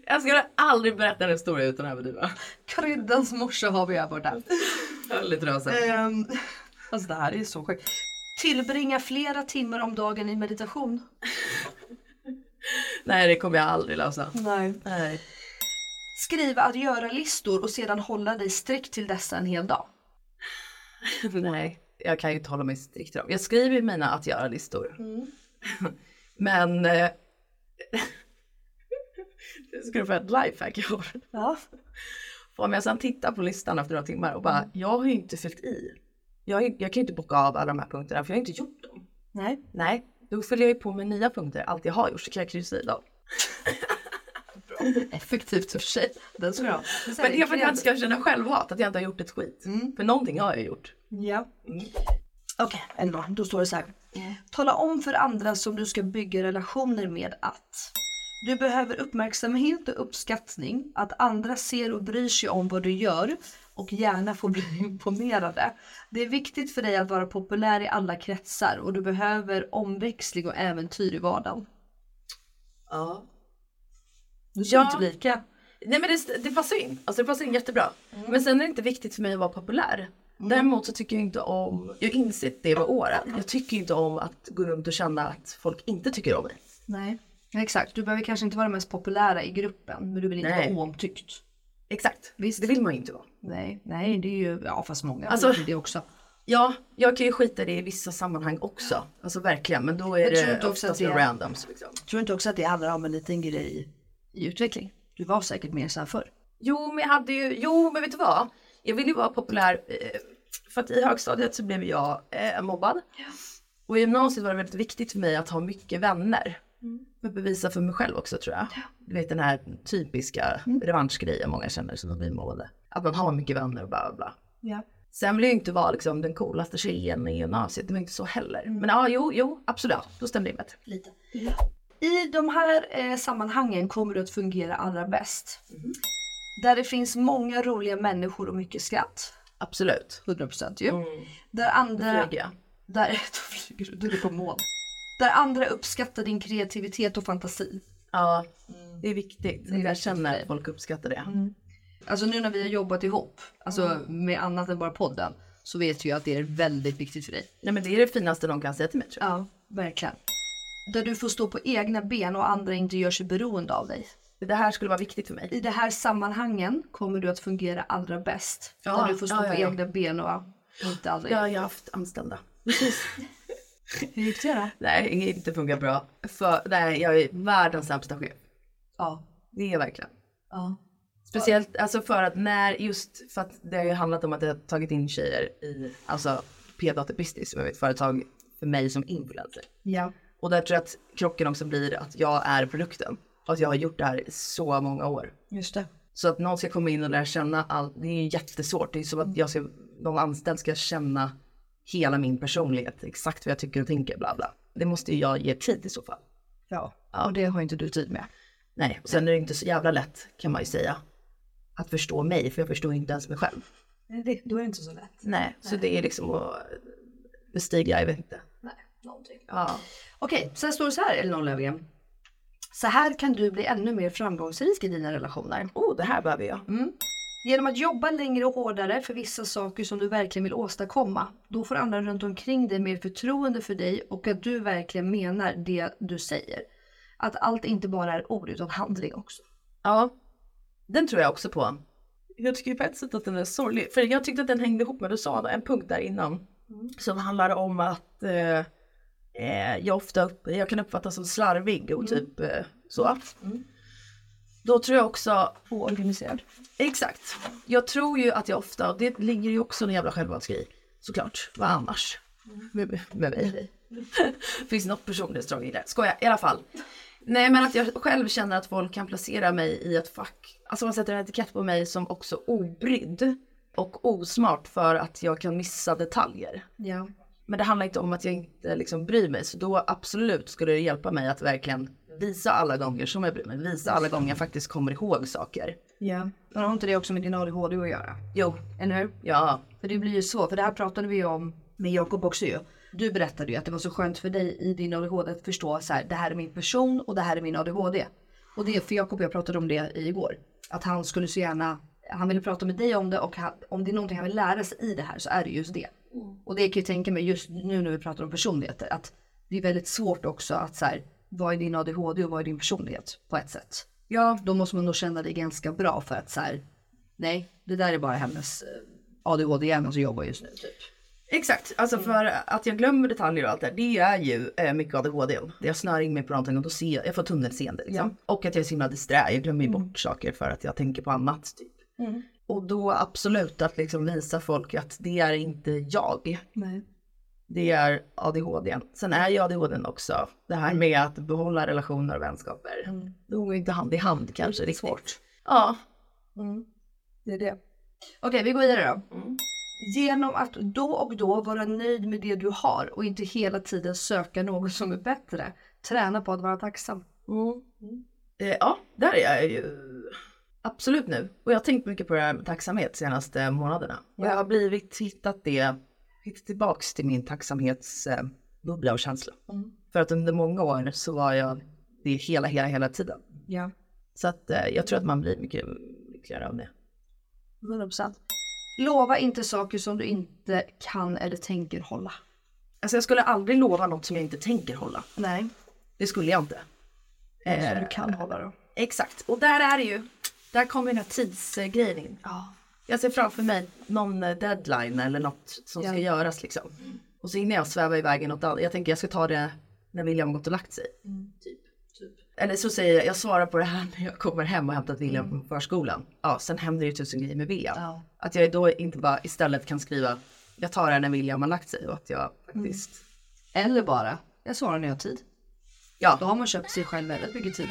[SPEAKER 3] Jag skulle aldrig berätta en historia utan att överdriva.
[SPEAKER 2] Kryddans morsa har vi här borta.
[SPEAKER 3] Lite rösa.
[SPEAKER 2] Ehm, alltså det här är så sjukt. Tillbringa flera timmar om dagen i meditation.
[SPEAKER 3] Nej, det kommer jag aldrig lösa.
[SPEAKER 2] Nej.
[SPEAKER 3] Nej.
[SPEAKER 2] Skriva att göra-listor och sedan hålla dig strikt till dessa en hel dag.
[SPEAKER 3] Nej, jag kan ju inte hålla mig strikt till dem. Jag skriver ju mina att göra-listor.
[SPEAKER 2] Mm.
[SPEAKER 3] Men... Eh, det skulle vara ett lifehack jag har.
[SPEAKER 2] Ja.
[SPEAKER 3] För om jag sedan tittar på listan efter några timmar och bara, jag har ju inte fyllt i. Jag, har ju- jag kan ju inte bocka av alla de här punkterna för jag har inte gjort dem.
[SPEAKER 2] Nej.
[SPEAKER 3] Nej, då fyller jag ju på med nya punkter. Allt jag har gjort så kan jag kryssa i dem.
[SPEAKER 2] Effektivt i och för sig. Den ska jag ha.
[SPEAKER 3] Men det är för att jag inte ska känna självhat, att jag inte har gjort ett skit. För någonting har jag gjort.
[SPEAKER 2] Ja. Mm. Okej, ändå. Då står det så här. Tala om för andra som du ska bygga relationer med att du behöver uppmärksamhet och uppskattning, att andra ser och bryr sig om vad du gör och gärna får bli imponerade. Det är viktigt för dig att vara populär i alla kretsar och du behöver omväxling och äventyr i vardagen.
[SPEAKER 3] Ja.
[SPEAKER 2] Du ser inte lika.
[SPEAKER 3] Nej men det, det passar in. Alltså det passar in jättebra.
[SPEAKER 2] Mm.
[SPEAKER 3] Men sen är det inte viktigt för mig att vara populär. Däremot så tycker jag inte om, jag har insett det med åren. Jag tycker inte om att gå runt och känna att folk inte tycker om mig.
[SPEAKER 2] Nej, exakt. Du behöver kanske inte vara den mest populära i gruppen, men du vill inte
[SPEAKER 3] Nej.
[SPEAKER 2] vara oomtyckt.
[SPEAKER 3] Exakt, Visst. det vill man ju inte vara.
[SPEAKER 2] Nej, nej, det är ju, ja fast många
[SPEAKER 3] Alltså-
[SPEAKER 2] vill det också.
[SPEAKER 3] Ja, jag kan ju skita i det i vissa sammanhang också. Alltså verkligen, men då är
[SPEAKER 2] Jag tror inte
[SPEAKER 3] det
[SPEAKER 2] också
[SPEAKER 3] oftast
[SPEAKER 2] att det-
[SPEAKER 3] randoms liksom.
[SPEAKER 2] Tror du inte också att det handlar om en liten grej i utveckling? Du var säkert mer så här förr.
[SPEAKER 3] Jo, men jag hade ju, jo, men vet du vad? Jag ville ju vara populär eh, för att i högstadiet så blev jag eh, mobbad. Och i gymnasiet var det väldigt viktigt för mig att ha mycket vänner.
[SPEAKER 9] Mm-hmm.
[SPEAKER 3] För att bevisa för mig själv också tror jag. Du vet den här typiska revanschgrejen många känner som de blir mobbade. Att man har mycket vänner och bla bla bla.
[SPEAKER 2] Ja.
[SPEAKER 3] Sen vill jag ju inte vara liksom, den coolaste tjejen i gymnasiet, det var inte så heller. Men ja, jo, jo, absolut, då stämde det bättre.
[SPEAKER 2] Lite. I de här eh, sammanhangen kommer du att fungera allra bäst.
[SPEAKER 3] Mhm.
[SPEAKER 2] Där det finns många roliga människor och mycket skratt.
[SPEAKER 3] Absolut.
[SPEAKER 2] 100% ju. Där andra...
[SPEAKER 3] flyger jag.
[SPEAKER 2] Där, då flyger du, du är på mål. Där andra uppskattar din kreativitet och fantasi. Mm.
[SPEAKER 3] Ja, det är viktigt. Jag känner att folk uppskattar det. Mm.
[SPEAKER 2] Alltså nu när vi har jobbat ihop, alltså med annat än bara podden, så vet jag att det är väldigt viktigt för dig.
[SPEAKER 3] Nej men det är det finaste någon kan säga till mig tror jag.
[SPEAKER 2] Ja, verkligen. Där du får stå på egna ben och andra inte gör sig beroende av dig.
[SPEAKER 3] Det här skulle vara viktigt för mig.
[SPEAKER 2] I det här sammanhangen kommer du att fungera allra bäst.
[SPEAKER 3] Ja,
[SPEAKER 2] där du får stå
[SPEAKER 3] ja, ja,
[SPEAKER 2] på
[SPEAKER 3] ja.
[SPEAKER 2] egna ben och inte aldrig.
[SPEAKER 3] Ja, jag har haft anställda.
[SPEAKER 2] Hur gick det då?
[SPEAKER 3] Nej, det inte funkar bra. För, nej, jag är världens sämsta chef.
[SPEAKER 2] Ja.
[SPEAKER 3] Det är jag verkligen.
[SPEAKER 2] Ja.
[SPEAKER 3] Speciellt alltså för att när, just för att det har ju handlat om att jag har tagit in tjejer i, alltså P-Data Business som är ett företag för mig som influencer.
[SPEAKER 2] Ja.
[SPEAKER 3] Och där tror jag att krocken också blir att jag är produkten. Och att jag har gjort det här i så många år.
[SPEAKER 2] Just det.
[SPEAKER 3] Så att någon ska komma in och lära känna allt, det är ju jättesvårt. Det är som
[SPEAKER 2] Mm.
[SPEAKER 3] att jag ska, någon anställd ska känna hela min personlighet, exakt vad jag tycker och tänker, bla bla. Det måste ju jag ge tid i så fall.
[SPEAKER 2] Ja, och det har inte du tid med.
[SPEAKER 3] Nej, och sen är det inte så jävla lätt kan man ju säga att förstå mig, för jag förstår ju inte ens mig själv. Det, då är det inte så lätt.
[SPEAKER 2] Nej.
[SPEAKER 3] Så det är liksom att bestiga, jag vet inte.
[SPEAKER 2] Någonting.
[SPEAKER 3] Ja.
[SPEAKER 2] Okej, sen står det så här Elinor Löfgren. Så här kan du bli ännu mer framgångsrik i dina relationer.
[SPEAKER 3] Oh, det här behöver jag.
[SPEAKER 2] Mm. Genom att jobba längre och hårdare för vissa saker som du verkligen vill åstadkomma. Då får andra runt omkring dig mer förtroende för dig och att du verkligen menar det du säger. Att allt inte bara är ord utan handling också.
[SPEAKER 3] Ja, den tror jag också på. Jag tycker ju på ett sätt att den är sorglig. För jag tyckte att den hängde ihop med, du sa en punkt där innan. Som handlar om att eh, eh, jag ofta upp, jag kan uppfattas som slarvig och typ eh, så. Då tror jag också...
[SPEAKER 2] Oorganiserad.
[SPEAKER 3] Exakt. Jag tror ju att jag ofta, och det ligger ju också en jävla självvalsgrej. Såklart, vad annars? Med, med mig. Finns något personlighetsdrag i det? Skoja, i alla fall. Nej men att jag själv känner att folk kan placera mig i ett fack. Alltså man sätter en etikett på mig som också obrydd och osmart för att jag kan missa detaljer.
[SPEAKER 2] Ja.
[SPEAKER 3] Men det handlar inte om att jag inte liksom bryr mig. Så då absolut skulle det hjälpa mig att verkligen visa alla gånger som jag bryr mig. Visa alla gånger jag faktiskt kommer ihåg saker.
[SPEAKER 2] Ja. Men har inte det också med din ADHD att göra?
[SPEAKER 3] Jo.
[SPEAKER 2] Eller hur?
[SPEAKER 3] Ja.
[SPEAKER 2] För det blir ju så, för det här pratade vi ju om med Jakob också ju. Du berättade ju att det var så skönt för dig i din ADHD att förstå så här, det här är min person och det här är min ADHD. Och det är för Jakob och jag pratade om det igår. Att han skulle så gärna, han ville prata med dig om det och han, om det är någonting han vill lära sig i det här så är det just det. Och det kan jag tänka mig just nu när vi pratar om personligheter att det är väldigt svårt också att så här, vad är din ADHD och vad är din personlighet på ett sätt. Ja. Då måste man nog känna det ganska bra för att så här, nej, det där är bara hennes eh, ADHD-hjärna som jobbar just nu typ.
[SPEAKER 3] Exakt, alltså för att jag glömmer detaljer och allt det där, det är ju eh, mycket ADHD. Jag snör in mig på någonting och då ser jag, jag får tunnelseende liksom. Och att jag är så himla disträ, jag glömmer ju bort saker för att jag tänker på annat. Typ.
[SPEAKER 2] Mm.
[SPEAKER 3] Och då absolut att liksom visa folk att det är inte jag.
[SPEAKER 2] Nej.
[SPEAKER 3] Det är ADHD. Sen är ju ADHD också det här med att behålla relationer och vänskaper.
[SPEAKER 2] Mm.
[SPEAKER 3] Det går ju inte hand i hand kanske riktigt. Svårt. Ja.
[SPEAKER 2] Mm. Det är det. Mm. Okej, vi går vidare då. Genom att då och då vara nöjd med det du har och inte hela tiden söka något som är bättre. Träna på att vara tacksam. Mm.
[SPEAKER 3] Eh, ja, där är jag ju absolut nu. Och jag har tänkt mycket på det här med tacksamhet de senaste månaderna. Och jag har blivit, hittat det, hittat tillbaks till min tacksamhetsbubbla och känsla.
[SPEAKER 2] Mm.
[SPEAKER 3] För att under många år så var jag det hela, hela, hela tiden.
[SPEAKER 2] Ja.
[SPEAKER 3] Så att eh, jag tror att man blir mycket lyckligare av det.
[SPEAKER 2] 100%. Lova inte saker som du inte kan eller tänker hålla.
[SPEAKER 3] Alltså jag skulle aldrig lova något som jag inte tänker hålla.
[SPEAKER 2] Nej.
[SPEAKER 3] Det skulle jag inte. Eh,
[SPEAKER 2] Som du kan hålla då.
[SPEAKER 3] Exakt, och där är det ju. Där kommer den här tidsgrejen in.
[SPEAKER 2] Ja.
[SPEAKER 3] Jag ser framför mig någon eh, deadline eller något som ska göras liksom. Och så hinner jag sväva iväg i något annat. Jag tänker jag ska ta det när William har gått och lagt sig.
[SPEAKER 2] Typ.
[SPEAKER 3] Eller så säger jag, jag svarar på det här när jag kommer hem och hämtat William från förskolan. Ja, sen händer det ju tusen grejer med William.
[SPEAKER 2] Mm. Ja.
[SPEAKER 3] Att jag då inte bara istället kan skriva, jag tar det här när William har lagt sig och att jag faktiskt...
[SPEAKER 2] Mm. Eller bara, jag svarar när jag har tid.
[SPEAKER 3] Ja.
[SPEAKER 2] Då har man köpt sig själv väldigt mycket tid.